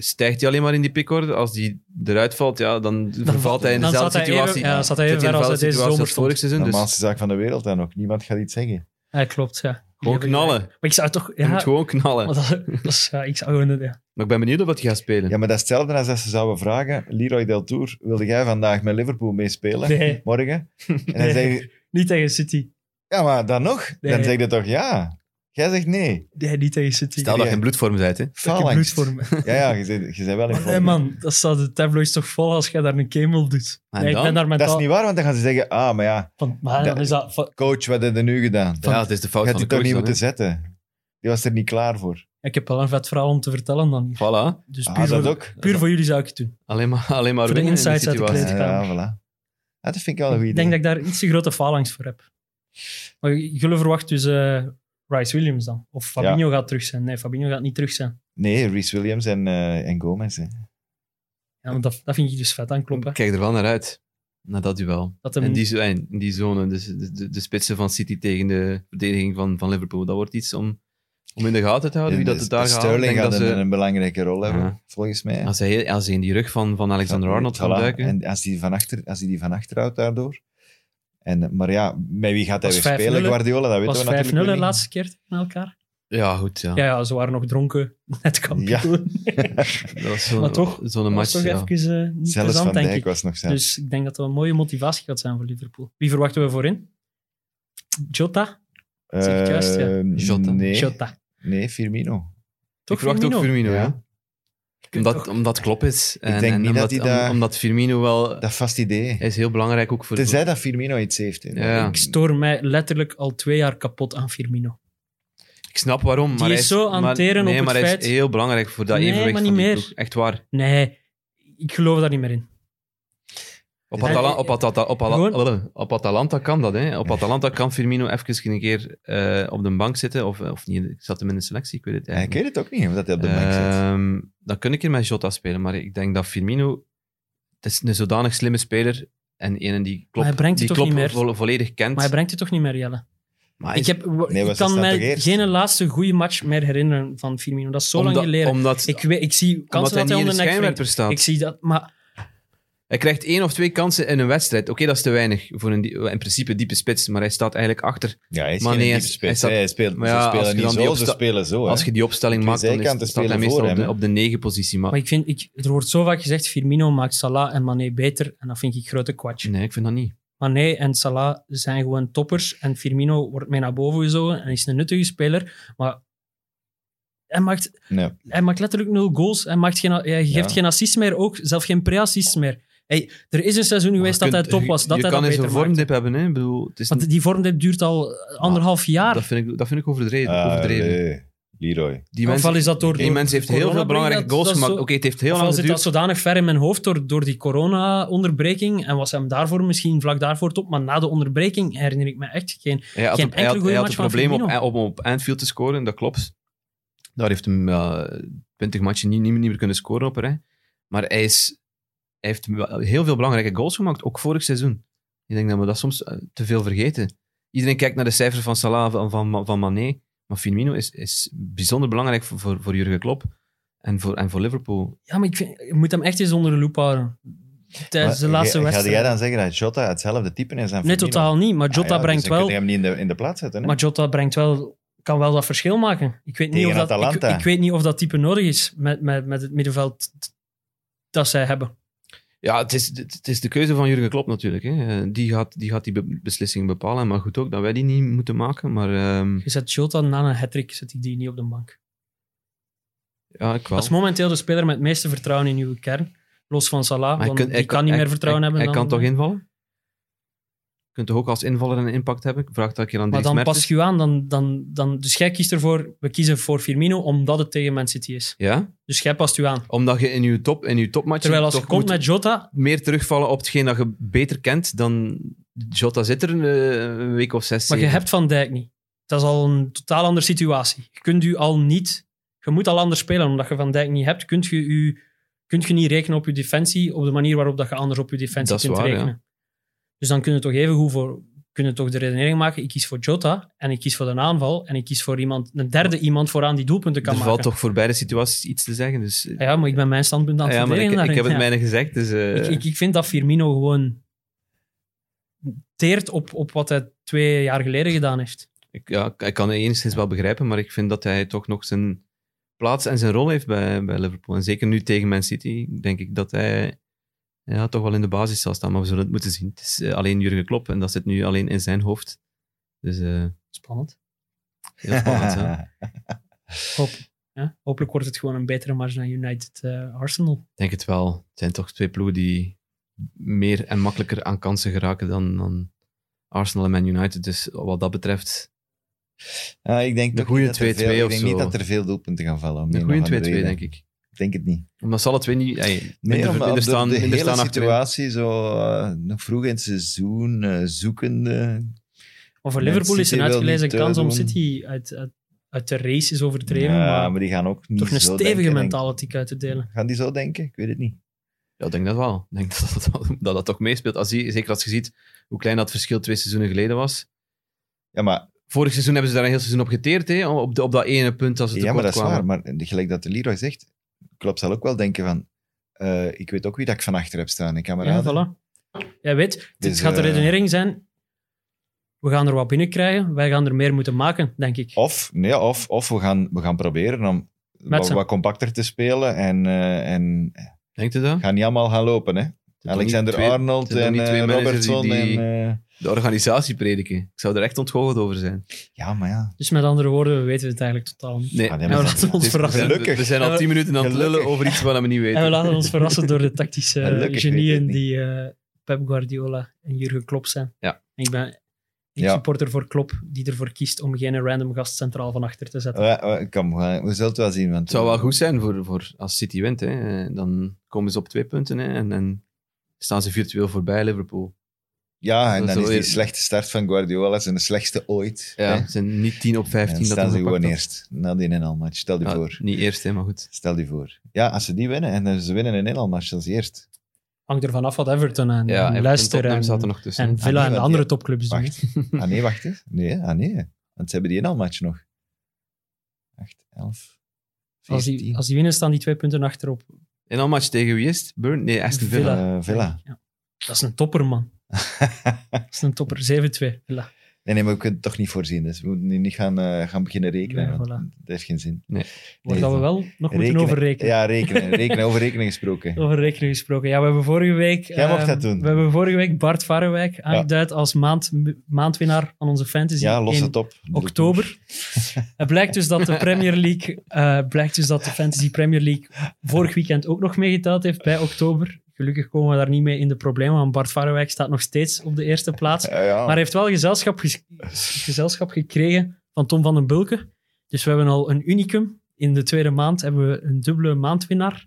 stijgt hij alleen maar in die pickorde. Als die eruit valt, ja, dan, vervalt hij in
dan
dezelfde
staat hij even-
situatie.
ja, dan staat hij even
Zit in
ver
dezelfde
als hij deze
situatie als
zomer
vorig seizoen.
De
Dus
normaalste zaak van de wereld dan ook. Niemand gaat iets zeggen.
Ja, klopt, ja.
gewoon knallen.
Maar ik zou toch...
Je
Ja,
moet gewoon knallen.
want dat, dat is, ja, ik zou gewoon... Ja.
Maar ik ben benieuwd of dat hij gaat spelen.
Ja, maar dat is hetzelfde als dat ze zouden vragen. Leroy Del Tour, wilde jij vandaag met Liverpool meespelen?
Nee.
Morgen? En dan
Nee.
zeg je,
Niet tegen City.
ja, maar dan nog?
Nee.
Dan zeg je toch ja? Jij zegt nee.
Nee, niet tegen City.
Stel dat je in bloedvorm bent, hè.
dat je bloed
Faalangst.
voor me.
Ja, ja, je bent, je bent wel in
Nee,
vorm.
man, dat staat de tabloids toch vol als jij daar een camel doet.
En
Nee, ik
dan?
ben daar
Dat is
mentaal...
niet waar, want dan gaan ze zeggen, ah, maar ja,
Van, maar dan
Dat-
is dat... van-
coach, wat heb je nu gedaan?
Ja, dat is de fout
Je
van de
had die toch
coach
niet
dan,
moeten
hè.
zetten. Die was er niet klaar voor.
ik heb wel een vet verhaal om te vertellen dan hier.
Voilà.
Dus puur,
Ah, dat
voor,
ook.
puur voor jullie zou ik het doen.
Alleen maar, alleen maar
Voor de
winnen in die
insights uit de
situatie.
kleedkamer.
Ja, voilà. Ja, dat vind ik wel een goed
Ik
idee.
denk dat ik daar iets te grote falangst voor heb. Maar j- jullie verwachten dus eh, Rice Williams dan? Of Fabinho gaat terug zijn? Nee, Fabinho gaat niet terug zijn.
Nee, Reese Williams en, eh, en Gomez. Hè.
Ja, want dat, dat vind ik dus vet aan kloppen.
Ik kijk er wel naar uit. Naar dat duel.
Dat hem,
In die, zo- in die zone, dus de, de, de spitsen van City tegen de verdediging van, van Liverpool. Dat wordt iets om, om in de gaten te houden, wie dat het daar gaat halen. Ik
Sterling
denk
gaat
dat
een,
ze,
een belangrijke rol hebben,
Ja.
volgens mij. Eh,
als, hij, als hij in die rug van, van Alexander Arnold gaat
Voilà.
duiken.
En als hij van achter, als hij die van achter houdt daardoor. En, eh, maar ja, met wie gaat hij
Was
weer spelen?
5-0,
Guardiola, dat weten
was
we
5-0
natuurlijk
de
weer niet.
laatste keer tegen elkaar.
ja, goed. Ja.
Ja, ja, ze waren nog dronken. Net kampioen.
Dat was zo'n,
Maar toch,
zo'n
Dat is
match.
toch
ja.
even eh, niet
Zelfs Van
plezant, denk
Dijk
ik.
was nog zelf.
Dus ik denk dat dat een mooie motivatie gaat zijn voor Liverpool. Wie verwachten we voorin? Jota? zeg het juist, ja.
Eh,
Jota.
Nee,
Jota.
nee, Firmino.
Toch
ik verwacht ook Firmino,
Ja.
ja. Omdat, omdat Klopp is. En,
denk
en
niet
omdat,
dat hij daar-
om- omdat Firmino wel...
Dat vast idee.
Hij is heel belangrijk ook voor...
Tenzij dat Firmino iets heeft. hè.
Ja.
Ik stoor mij letterlijk al twee jaar kapot aan Firmino.
Ik snap waarom, maar
is
hij is
zo aan
maar,
het teren
nee,
op het
maar hij
feit-
is heel belangrijk voor dat
Nee,
evenwicht
maar
van
niet
die
meer.
ploeg. Echt waar.
Nee, ik geloof daar niet meer in.
Op,
Nee.
Atala- op, Atata- op, Ala-
Gewoon-
op Atalanta kan dat, hè. Op Atalanta kan Firmino even een keer eh, op de bank zitten. Of, of niet, ik zat hem in de selectie, ik weet het
Ja, ik
eigenlijk
weet het ook niet, omdat hij op de
niet.
bank zit.
Ehm, dan kun ik er met Jota spelen, maar ik denk dat Firmino... Het is een zodanig slimme speler en een die klopt,
hij brengt het
die
toch niet
Klopp
meer?
vo- volledig kent.
Maar hij brengt het toch niet meer, Jelle?
Maar
Ik,
is-
heb, w-
Nee,
ik
was
kan
dat
mij
toch eerst?
geen laatste goede match meer herinneren van Firmino. Dat is zo lang
omdat-
geleden.
Omdat,
ik, weet, ik zie
omdat
kansen
hij
dat hij
niet in
onder
de
de nek
schijnwerper
wringt.
staat.
Ik zie dat, maar
Hij krijgt één of twee kansen in een wedstrijd. Oké, dat is te weinig voor een die- in principe diepe spits, maar hij staat eigenlijk achter.
Ja, hij is
Maar
geen
nee, hij
diepe
is-
spits,
hij staat-
hè. Hij speelt,
Maar ja,
ze
als
spelen
je
niet
dan die
zo, ze
opsta-
spelen zo. hè.
Als je die opstelling
Twee
maakt, dan
zijkanten
is, staat hij
spelen
meestal
voor
op
hem,
de,
hè.
op de negen positie. Maar,
maar ik vind, ik, er wordt zo vaak gezegd, Firmino maakt Salah en Mané beter. En dat vind ik grote kwatsch.
nee, ik vind dat niet.
Mané en Salah zijn gewoon toppers. En Firmino wordt mee naar boven gezogen en is een nuttige speler. Maar hij maakt,
Nee.
hij maakt letterlijk nul goals. Hij, maakt geen, hij geeft
Ja.
geen assists meer, ook zelf geen pre-assists meer. Hey, er is een seizoen geweest
Maar
dat
je
hij
kunt-
top was, dat
je
hij
kan
dat
eens
beter
een
maakt.
vormdip hebben. Hè? Ik bedoel, het is
Want
niet-
die vormdip duurt al anderhalf jaar.
dat, vind ik, dat vind ik overdreven.
Ah,
overdreven.
nee. Leroy.
Die
Ofwel
mensen
is dat door,
die
door
mensen heeft heel
corona
veel belangrijke
brengt dat-
goals
dat is
gemaakt.
zo-
Oké, het heeft heel
ofwel
lang
zit dat
geduurd.
zodanig ver in mijn hoofd door, door die corona-onderbreking en was hem daarvoor misschien vlak daarvoor top, maar na de onderbreking herinner ik me echt geen
Hij had,
geen
op- hij
enkele
had,
goede
hij had
match
het probleem
van
op, op, op Anfield te scoren, dat klopt. Daar heeft hem twintig matchen niet, niet, meer- niet meer kunnen scoren op een rij. Maar hij, is, hij heeft wel heel veel belangrijke goals gemaakt, ook vorig seizoen. Ik denk dat we dat soms eh, te veel vergeten. Iedereen kijkt naar de cijfers van Salah, van, van, van Mané. Maar Firmino is, is bijzonder belangrijk voor, voor, voor Jurgen Klopp en voor, en voor Liverpool.
Ja, maar ik, vind, je moet hem echt eens onder de loep houden. Tijdens de
Maar
laatste
ga-
wedstrijd.
Ga jij dan zeggen dat Jota hetzelfde type is aan Firmino?
nee, totaal niet. Maar
Ah,
Jota,
ja, dus
brengt
dan
wel,
kun je hem niet in de, in de plaats zetten. Hè?
maar Jota brengt wel... Kan wel dat verschil maken. Ik weet niet,
Tegen
of dat, ik,
Atalanta.
ik weet niet of dat type nodig is met, met, met het middenveld t- dat zij hebben.
Ja, het is, het is de keuze van Jurgen Klopp natuurlijk. Hè. Eh, Die gaat die, gaat die be- beslissing bepalen. Maar goed ook dat wij die niet moeten maken. Maar ehm,
Je zet Jota na een hat-trick, zet ik die niet op de bank.
ja, ik wel.
Dat is momenteel de speler met het meeste vertrouwen in uw kern. Los van Salah,
Maar
want die kan niet meer vertrouwen
hij,
hebben.
Hij
dan- eh,
kan toch invallen? kunt toch ook als invaller een impact hebben? Ik vraag dat ik je aan
Maar
Dries
dan
Mertens.
pas je aan, dan, dan, dan, dus jij kiest ervoor, we kiezen voor Firmino omdat het tegen Man City is.
Ja,
Dus jij past je aan.
omdat je in je, top, in je topmatch
Terwijl als je
toch
komt
moet
met Jota,
meer terugvallen op hetgeen dat je beter kent dan... Jota zit er een, eh, een week of zes,
maar je
zeven.
hebt Van Dijk niet. Dat is al een totaal andere situatie. Je kunt u al niet, je moet al anders spelen omdat je Van Dijk niet hebt. Kunt je, u, kunt je niet rekenen op je defensie op de manier waarop dat je anders op je defensie
Dat is
kunt
waar, ja.
rekenen. Dus dan kunnen we toch even goed voor kunnen toch de redenering maken. Ik kies voor Jota en ik kies voor een aanval en ik kies voor iemand, een derde iemand vooraan die doelpunten kan
Er
maken. Ah
valt toch voor beide situaties iets te zeggen. Dus, eh,
Ja, maar ik ben mijn standpunt aan het
ja, maar ik,
verdedigen
ik heb
daarin,
het
ja.
mijne gezegd. Dus, eh,
Ik, ik, ik vind dat Firmino gewoon teert op, op wat hij twee jaar geleden gedaan heeft.
Ik, ja, ik- ik kan het enigszins wel begrijpen, maar ik vind dat hij toch nog zijn plaats en zijn rol heeft bij, bij Liverpool. En zeker nu tegen Man City, denk ik dat hij ja, toch wel in de basis zal staan. Maar we zullen het moeten zien. Het is eh, alleen Jurgen Klopp en dat zit nu alleen in zijn hoofd. Dus eh,
Spannend.
heel spannend. hè.
Hoop, ja? Hopelijk wordt het gewoon een betere match dan United eh, Arsenal.
Ik denk het wel. Het zijn toch twee ploegen die meer en makkelijker aan kansen geraken dan, dan Arsenal en Man United. Dus wat dat betreft,
Ja, ik denk
Een
toch
goeie
niet dat er
2-2
veel-
of
Ik denk niet
zo.
dat er veel doelpunten gaan vallen. om
een
een
goede
of andere
2-2,
reden.
denk ik.
Ik denk het niet.
Omdat ze alle twee niet... ey,
Nee,
minder,
omdat
minder
de,
staan,
de
minder
hele
staan achterin.
situatie zo eh, nog vroeg in het seizoen, eh, zoekende.
Maar voor
Man
Liverpool is
City
een
wil
uitgelezen
niet, eh,
kans om
doen.
City uit, uit, uit de race is overdreven,
ja,
maar,
maar, die gaan ook niet
toch een
zo
stevige
denken, denk ik.
mentale tik uit te delen.
Gaan die zo denken? Ik weet het niet.
Ja, ik denk dat wel. Ik denk dat dat, wel- dat, dat toch meespeelt. Als je, zeker als je ziet hoe klein dat verschil twee seizoenen geleden was.
Ja, maar,
Vorig seizoen hebben ze daar een heel seizoen op geteerd, hè? Op, de, op dat ene punt als ze
ja, maar
tekort
dat is waar.
kwamen.
Maar gelijk dat de Leroy zegt, Klopp zal ook wel denken van, eh, ik weet ook wie dat ik van achter heb staan, ik
Ja,
kameraden.
voilà. Jij weet, dit
Dus,
gaat de
eh,
redenering zijn. We gaan er wat binnenkrijgen, wij gaan er meer moeten maken, denk ik.
Of, nee, of, of we, gaan, we gaan proberen om wat,
z'n-
wat compacter te spelen en, eh, en
Denkt u dat?
gaan niet allemaal gaan lopen, hè.
Dat
Alexander
er niet twee-
Arnold
zijn toch
en
niet twee
eh,
managers die-
Robertson
die-
en... eh,
De organisatie prediken. Ik zou er echt ontgoocheld over zijn.
ja, maar ja.
Dus met andere woorden, we weten het eigenlijk totaal niet.
Nee,
Ah, nee,
En we
maar
laten ons
Het is- we,
verrassen.
zijn,
Gelukkig.
we zijn al tien minuten aan het
Gelukkig.
lullen over iets wat we niet
En we
weten.
laten ons verrassen door de tactische eh,
Gelukkig
genieën
weet ik
die eh, Pep Guardiola en Jurgen Klopp zijn.
Ja.
En ik ben een
Ja.
supporter voor Klopp, die ervoor kiest om geen random gast centraal van achter te zetten.
Ja, eh, Kom, we we zullen het wel zien. Want
Het zou wel goed zijn voor, voor als City wint. Hè? Dan komen ze op twee punten hè? En, en staan ze virtueel voorbij Liverpool.
Ja,
Dat
en dan
is
is
wel
die
weer-
slechte start van Guardiola zijn de slechtste ooit. hè.
Ja. Ze zijn niet 10 op
En
15.
dan
dat
staan
hem
ze
gepakt
gewoon
had.
eerst, na die inhaalmatch. Stel je
Ja,
voor.
niet eerst, hè, maar goed.
Stel je voor. Ja, als ze die winnen, en eh, ze winnen een inhaalmatch als eerst.
Hangt ervan af wat Everton en,
Ja,
en
en
Leicester
Tottenham
en,
zat er nog tussen.
en Villa
Ah, nee,
en de
want
andere
die-
topclubs doen.
Wacht. Ah nee, wacht eens. Nee, ah nee. Want ze hebben die inhaalmatch nog. 8, 11,
Als
14.
die, als die winnen, staan die twee punten achter op
En dan match tegen wie is het? Burn? Nee, Aston Villa.
Villa.
Eh, Villa.
Ja. Dat is een topper, man. Dat is een topper. 7-2. Villa.
Nee, nee, maar we kunnen het toch niet voorzien. Dus we moeten nu niet gaan, eh, gaan beginnen rekenen.
Ja,
want
voilà.
Dat heeft geen zin.
Waar
Nee,
dat we wel nog moeten
Rekenen-
overrekenen.
Ja, rekenen. rekenen over rekenen gesproken.
Over rekenen gesproken. Ja, we hebben vorige week...
Jij mocht
ehm,
dat doen.
We hebben vorige week Bart Varenwijk aangeduid als maand, maandwinnaar van onze fantasy.
Ja, los
in
het op.
oktober. het blijkt dus dat de Premier League... eh, blijkt dus dat de Fantasy Premier League vorig weekend ook nog meegeteld heeft bij oktober. Gelukkig komen we daar niet mee in de problemen, want Bart Varenwijk staat nog steeds op de eerste plaats.
Ja, ja.
Maar hij heeft wel gezelschap, ges- gezelschap gekregen van Tom van den Bulke. Dus we hebben al een unicum. In de tweede maand hebben we een dubbele maandwinnaar.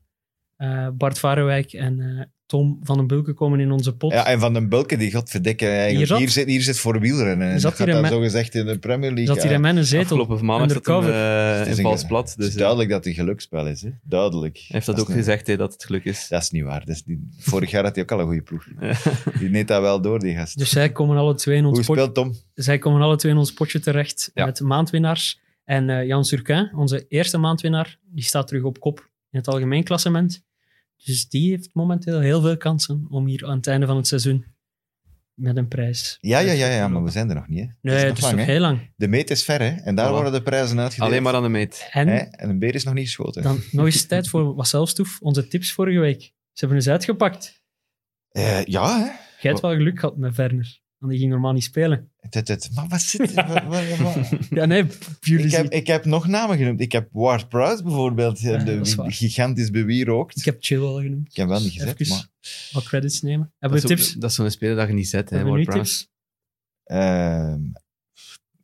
Eh, Bart Varenwijk en eh, Tom van den Bulke komen in onze pot.
Ja, en Van den Bulke, die godverdikke. Eigenlijk.
Hier
Hier,
zat-
zit, hier zit voor wielrennen.
Hier
En
zat
dat gaat
hier een
dan
me-
zo gezegd in de Premier League.
Zat hier
ja.
in mijn zetel.
Afgelopen maand is dat een,
Undercover.
eh,
Het
een
is een-
vals plat.
Het is
Dus, eh,
duidelijk dat het een geluksspel is. Hè? Duidelijk.
hij heeft dat, ook
is niet-
gezegd, hè, dat het geluk is.
Dat is niet waar. Dat is niet... Vorig jaar had hij ook al een goede ploeg. Die neemt dat wel door, die gast.
Dus zij komen, alle twee in
Hoe
ons pot,
speelt Tom?
zij komen alle twee in ons potje terecht
Ja.
met maandwinnaars. En eh, Jan Surquin, onze eerste maandwinnaar, die staat terug op kop in het algemeen klassement. Dus die heeft momenteel heel veel kansen om hier aan het einde van het seizoen met een prijs.
Ja, ja, ja,
terug
ja,
te
maar we
lopen.
zijn er nog niet. Hè.
Nee,
nog
het is
lang,
nog
hè.
heel lang.
De meet is ver, hè? En daar
Voilà.
worden de prijzen uitgedeeld.
Alleen maar aan de meet.
En
Hè? En een beer is nog niet geschoten.
dan nog eens tijd voor wat zelfstoef. Onze tips vorige week. Ze hebben eens uitgepakt.
Eh, ja, hè?
Jij hebt wel geluk gehad met Werner. Want die ging normaal niet spelen.
Het, het, het. Maar wat zit er? Wat- wat- wat-
Ja, nee, p- jullie
Ik heb,
zien-
ik heb nog namen genoemd. Ik heb Ward Prowse bijvoorbeeld, eh,
Ja,
de,
dat is waar.
gigantisch bewierookt.
ik
Ik
heb chill al genoemd.
heb hem wel niet gezegd,
Even
maar...
wat credits nemen.
Dat
Hebben
is
we
ook-
tips?
Dat is zo'n speler dat je niet zet, hè,
Hebben we nu
Ward-Prowse.
tips?
Ehm,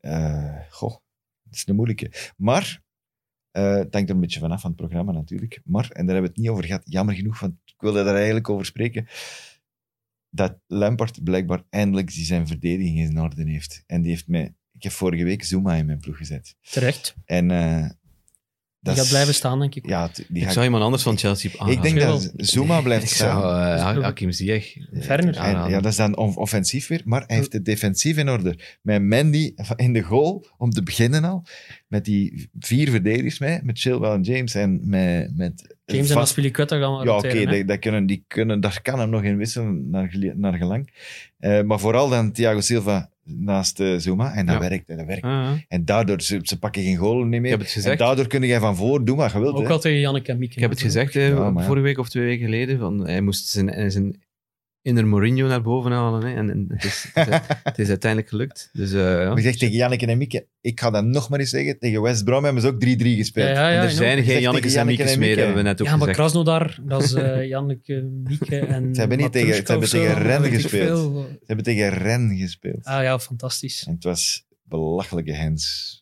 eh, goh, dat is een moeilijke. Maar, eh, het hangt er een beetje vanaf van het programma natuurlijk. Maar, en daar hebben we het niet over gehad, jammer genoeg, want ik wilde daar eigenlijk over spreken. Dat Lampard blijkbaar eindelijk die zijn verdediging in orde heeft. En die heeft mij, ik heb vorige week Zuma in mijn ploeg gezet.
Terecht.
En eh,
Die
dat
gaat
is-
blijven staan, denk ik.
Ja, t- die
Ik
ga
zou Ah, iemand anders van Chelsea aanhalen.
ik denk dat
Jawel.
Zuma blijft
Ik
staan.
zou eh, Ha- Hakim Ziyech... eh,
Werner.
En- ja, dat is dan on- offensief weer, maar hij heeft het defensief in orde. Met Mandy in de goal, om te beginnen al, met die vier verdedigers mee, met Chilwell en James en met... met
James en
vast-
Aspilicueta gaan we
Ja, oké,
roteren, hè.
dat- dat kunnen, die kunnen, daar kan hem nog in wisselen, naar, gele- naar gelang. Eh, maar vooral dan Thiago Silva naast eh, Zuma, en dat
Ja.
werkt, en dat werkt.
Ah, ja.
En daardoor, ze, ze pakken geen goal niet
Ik
meer.
heb het
En
gezegd.
daardoor kun jij van voor doen wat je wilt.
Ook
hè.
al tegen Janneke en Mieke.
Ik heb het gezegd eh,
Ja, maar ja.
vorige week of twee weken geleden. Van, hij moest zijn, eh, zijn inner Mourinho naar boven halen. Hè, en en het, is, het, is, het is uiteindelijk gelukt. Dus, eh, ja.
Maar je zegt tegen Janneke en Mieke, ik ga dat nog maar eens zeggen, tegen West Brom hebben ze ook 3-3 gespeeld.
Ja, ja, ja,
En er
ja.
zijn
tegen
geen Jannekes en
Janneke en
Miekes meer,
Mieke.
hebben we net ook
Ja, maar
gezegd.
Krasnodar, dat is eh, Janneke, Mieke en...
Ze hebben niet tegen-
Matrushka
ze hebben
of zo,
tegen Rennes
weet ik
gespeeld.
veel.
Ze hebben tegen Ren gespeeld.
Ah ja, fantastisch.
En het was belachelijke Hens.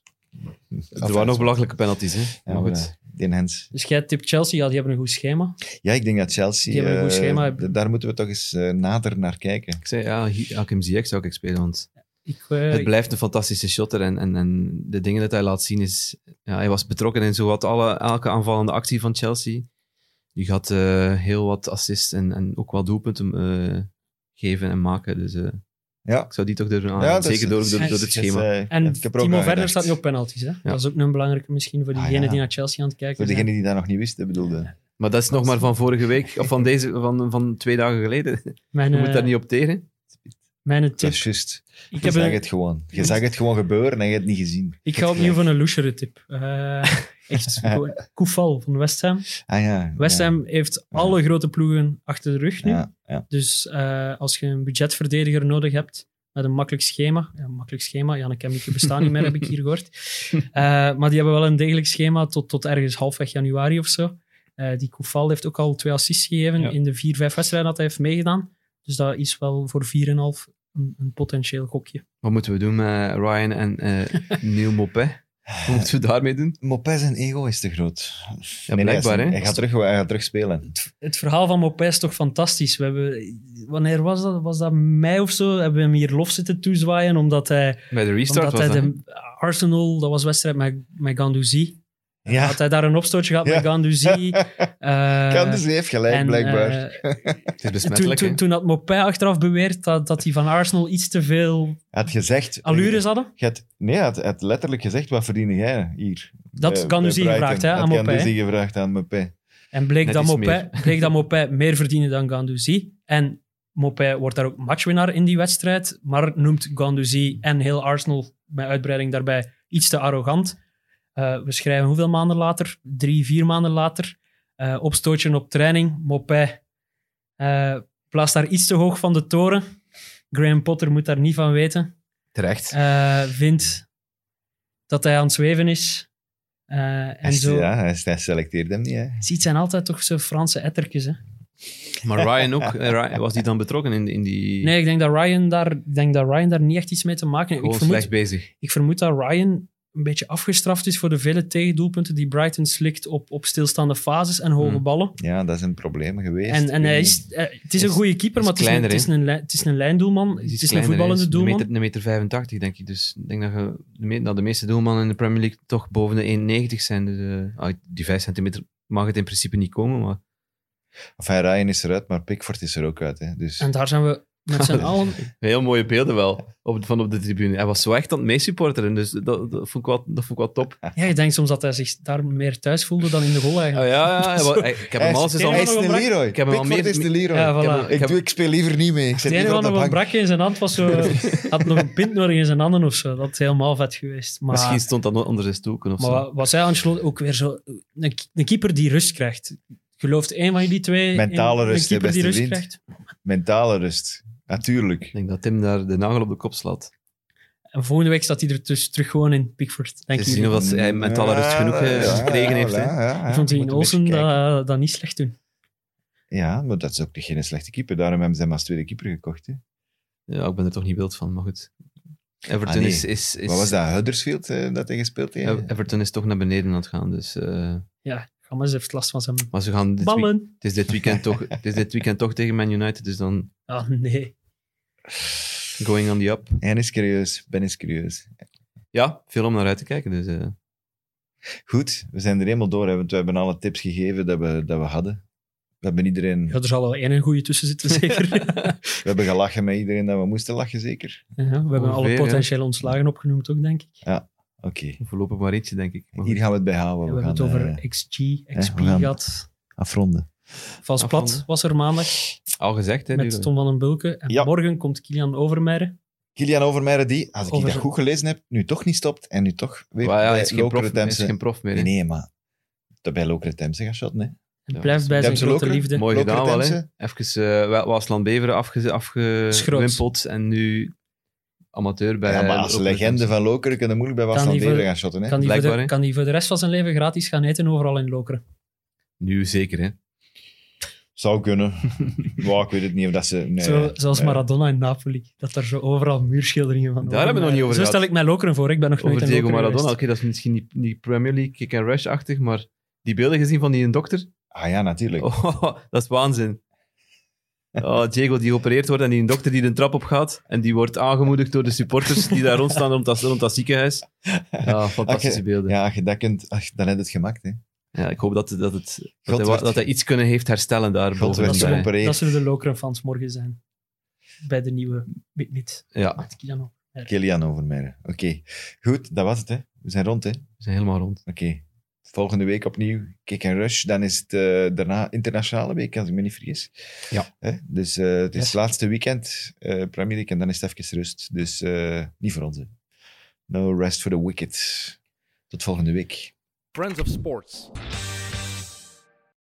er waren nog belachelijke penalties. Hè.
Ja,
Maar goed.
maar, Die Hens.
Dus jij tipt Chelsea, ja, die hebben een goed schema.
Ja, ik denk dat Chelsea...
Die hebben een goed
eh,
schema.
d- daar moeten we toch eens eh, nader naar kijken.
Ik zei, ja, Hi- Hakim Ziyech zou ik spelen, want
Ik, eh,
het blijft een fantastische shotter. En, en, en de dingen dat hij laat zien is... Ja, hij was betrokken in zowat alle, elke aanvallende actie van Chelsea. Die gaat eh, heel wat assists en, en ook wel doelpunten eh, geven en maken. Dus eh,
Ja.
ik zou die toch durven
ja,
aanhalen.
dat is-
Ah, Zeker door,
dat is-
door, door
dat
het
is,
schema.
eh,
En
ik heb er ook
Timo
aan
Werner
gedacht.
staat nu op penalties. Hè? Dat is ook een belangrijke misschien voor
Ah,
diegenen
ja.
die naar Chelsea aan het kijken
Voor
zijn.
degenen die dat nog niet wisten, bedoelde.
Maar dat is nog maar van vorige week, of van, deze, van, van twee dagen geleden.
Mijn,
Je
eh,
moet daar niet op tegen.
mijn
Dat
tip.
is juist.
Ik,
Je
heb
zag
een-
Dus het gewoon. Je zag het gewoon gebeuren en je hebt het niet gezien.
ik ga opnieuw voor een loesere tip. Eh, echt, gewoon Koufal van West Ham.
Ah ja.
West
ja.
Ham heeft alle grote ploegen achter de rug nu.
Ja, ja.
Dus eh, als je een budgetverdediger nodig hebt met een makkelijk schema, ja, een makkelijk schema, Janneke en Mieke bestaan niet meer, heb ik hier gehoord. Eh, maar die hebben wel een degelijk schema tot, tot ergens halfweg januari of zo. Eh, die Koufal heeft ook al twee assists gegeven
Ja.
in de vier, vijf wedstrijden dat hij heeft meegedaan. Dus dat is wel voor 4,5 een, een potentieel gokje.
Wat moeten we doen met Ryan en eh Neil Mopé? Wat moeten we daarmee doen?
Mopé zijn ego is te groot.
Ja,
Nee, nee,
blijkbaar,
hij is-
hè.
Hij gaat, terug, hij gaat terug spelen.
Het verhaal van Mopé is toch fantastisch. We hebben, wanneer was dat? Was dat mei of zo? Hebben we hem hier lof zitten toezwaaien omdat hij
Bij de restart
Omdat
was
hij
dat. hè?
de Arsenal, dat was wedstrijd met, met Guendouzi.
Ja,
Had hij daar een opstootje gehad
Ja.
met Guendouzi. eh,
kan dus hij heeft gelijk,
en,
blijkbaar.
eh,
Het is
toen,
besmettelijk,
toen, toen had Mopé achteraf beweerd dat, dat die van Arsenal iets te veel
had gezegd...
allures hadden.
Je had- nee, hij had, hij had letterlijk gezegd, wat verdien jij hier? Eh,
Dat kan dus hier gevraagd hè, aan
Dat
Mopé.
kan dus hier gevraagd aan Mopé.
En bleek
Net
dat,
iets
Mopé, bleek dat Mopé meer verdiende dan Guendouzi. En Mopé wordt daar ook matchwinnaar in die wedstrijd, maar noemt Guendouzi en heel Arsenal, met uitbreiding daarbij, iets te arrogant. Eh, we schrijven hoeveel maanden later? Drie, vier maanden later. Eh, opstootje op training. Mopé eh, plaatst daar iets te hoog van de toren. Graham Potter moet daar niet van weten.
Terecht.
Eh, vindt dat hij aan het zweven is. Eh, en
Hij-
zo.
Ja, hij, hij selecteert hem niet, hè.
Ziet zijn altijd toch zo Franse ettertjes, hè?
Maar Ryan ook. eh, Ryan- was die dan betrokken in, in die...
Nee, ik denk dat Ryan daar, ik denk dat Ryan daar niet echt iets mee te maken heeft.
gewoon
Ik
slecht
vermoed,
bezig.
ik vermoed dat Ryan een beetje afgestraft is voor de vele tegendoelpunten die Brighton slikt op, op stilstaande fases en hoge
Hmm.
ballen.
Ja, dat is een probleem geweest.
En, en
Ik
hij
weet
is,
niet.
eh, het is een
Is-
goede keeper,
is
maar het is, een,
kleiner,
het, is een, lijn- het is een lijndoelman.
Hij is
het
iets
is een
kleiner, hè.
voetballende
Hij is
doelman.
Een meter, een meter 85, denk ik. Dus ik denk dat, je de, me- dat de meeste doelmannen in de Premier League toch boven de 1,90 zijn. Dus, eh, ah, die 5 centimeter mag het in principe niet komen, maar...
Enfin, Ryan is eruit, maar Pickford is er ook uit, hè. Dus...
En daar zijn we met z'n allen.
Heel mooie beelden wel, op, van op de tribune. Hij was zo echt aan het meesupporteren, dus dat, dat, vond ik wel, dat vond ik wel top.
Ja, ik denk soms dat hij zich daar meer thuis voelde dan in de goal eigenlijk.
Oh, ja, ja, hij wa- hij- ik heb hem
Hij is-
al eens al...
hij
Hij
is
nog
de
een brak-
Leroy.
Ik heb hem al
Pickford
meer-
is de Leroy.
Ja, voilà.
ik heb-
ik, doe, ik speel liever niet mee. Ik zit
Het ene
liever op
van
de
een
bank.
brakje in zijn hand was zo, had nog een pint nodig in zijn handen of zo. Dat is helemaal vet geweest. Maar,
Misschien stond dat onder zijn stoken of
Maar
zo.
wat, wat zei Ancelotti ook weer zo? Een, een keeper die rust krijgt. Gelooft één van jullie twee? in
Mentale
een
rust,
keeper
hè,
die
beste
rust
vriend.
krijgt.
Mentale rust. Natuurlijk.
Ik denk dat Tim daar de nagel op de kop slaat.
En volgende week staat hij er dus terug gewoon in Pickford. Denk
Ze
ik.
zien of dat ze- hij mentale rust genoeg eh,
Ja,
gekregen heeft.
ja,
hè.
ja, ja.
Ik vond die
Moet
in
een beetje
Olsen eh,
kijken.
dat, dat niet slecht doen.
Ja, maar dat is ook geen slechte keeper. Daarom hebben ze hem als tweede keeper gekocht. Hè.
Ja, ik ben er toch niet wild van, maar goed. Everton
Ah, nee.
is, is, is,
Wat was dat, Huddersfield, eh, dat hij gespeeld heeft?
Ev- Everton is toch naar beneden aan het gaan. Dus, eh,
Ja, Gomez heeft last van zijn
maar ze gaan dit week-
ballen.
het, is dit weekend toch, het is dit weekend toch tegen Man United, dus dan
Ah, nee.
going on the up.
En is curieus, Ben is curieus.
Ja, veel om naar uit te kijken. Dus, eh,
Goed, we zijn er helemaal door. hè, want We hebben alle tips gegeven dat we, dat we hadden. We hebben, iedereen,
Ja, er zal wel één een goede tussen zitten, zeker.
we hebben gelachen met iedereen dat we moesten lachen, zeker?
Ja, we hebben alle
Ongeveer, ja.
potentiële ontslagen opgenoemd ook, denk ik.
Oké,
voorlopig maar ietsje, denk ik. Maar goed.
hier gaan we het bij houden.
Ja,
we,
we hebben
gaan
het over
eh,
XG,
we
XP
gaan-
gehad.
afronden.
Vals plat
Afronden.
was er maandag
Al gezegd, hè.
met
Leroy?
Tom van den Bulke. En
Ja.
morgen komt Kilian Overmeijer.
Kilian Overmeijer, die, als ik
Over-
dat goed gelezen heb, nu toch niet stopt en nu toch weer
Maar ja,
bij
hij is geen
Lokeren
prof, hij is
Temse-
geen prof meer. hè.
eh, Nee, nee, maar dat bij Lokeren Temse gaat shotten, hè.
En
Ja.
blijft bij zijn
Dempsel
grote
ook, hè?
liefde.
Mooi
Lokeren
gedaan wel, hè.
Temse.
Even eh, wel Waasland Beveren afge, afgewimpeld en nu amateur bij...
ja, maar als
Lokeren
legende
Temse.
van Lokeren kunnen moeilijk bij
Kan
Wasland
die voor-
Beveren gaan shotten, hè.
Kan die, voor de,
Blijkbaar, hè?
kan die voor de rest van zijn leven gratis gaan eten overal in Lokeren.
Nu zeker, hè.
Zou kunnen. ja, ik weet het niet of dat ze... Nee,
zo, zoals
nee.
Maradona in Napoli. Dat er zo overal muurschilderingen van
Daar hebben we nog niet over
Zo
gehad.
stel ik mij Lokeren voor. Ik ben nog nooit
Over
in
Diego
Lokeren
Maradona. Oké,
geweest.
dat is misschien niet, niet Premier League kick-and-rush-achtig, maar die beelden gezien van die een dokter,
Ah ja, natuurlijk.
Oh, dat is waanzin. Oh, Diego die geopereerd wordt en die een dokter die de trap op gaat. En die wordt aangemoedigd door de supporters die daar rondstaan rond dat, rond dat ziekenhuis. Ja, fantastische
Oké,
beelden. Ja.
Ja, als je dat kunt, ach, dan heb je het gemaakt. Hè.
ik hoop dat, dat, het, dat,
God
hij, wa-
werd-
dat hij iets kunnen heeft herstellen daar.
God
boven
werd
de
dat,
lijn.
geopereerd.
zullen, dat zullen de Lokeren-fans morgen zijn. Bij de nieuwe Bitmit.
Ja,
Met Kilian Overmeijer.
Kilian Overmeijer. Oké, goed, dat was het. Hè. We zijn rond, hè? Oké.
we zijn helemaal rond.
Volgende week opnieuw Kick and Rush. Dan is het eh, daarna internationale week, als ik me niet vergis.
Ja.
Hè? Dus eh, het is
Yes.
laatste weekend, eh Premier League, en dan is het even rust. Dus eh, niet voor ons. hè. No rest for the wicked. Tot volgende week.
Friends of Sports.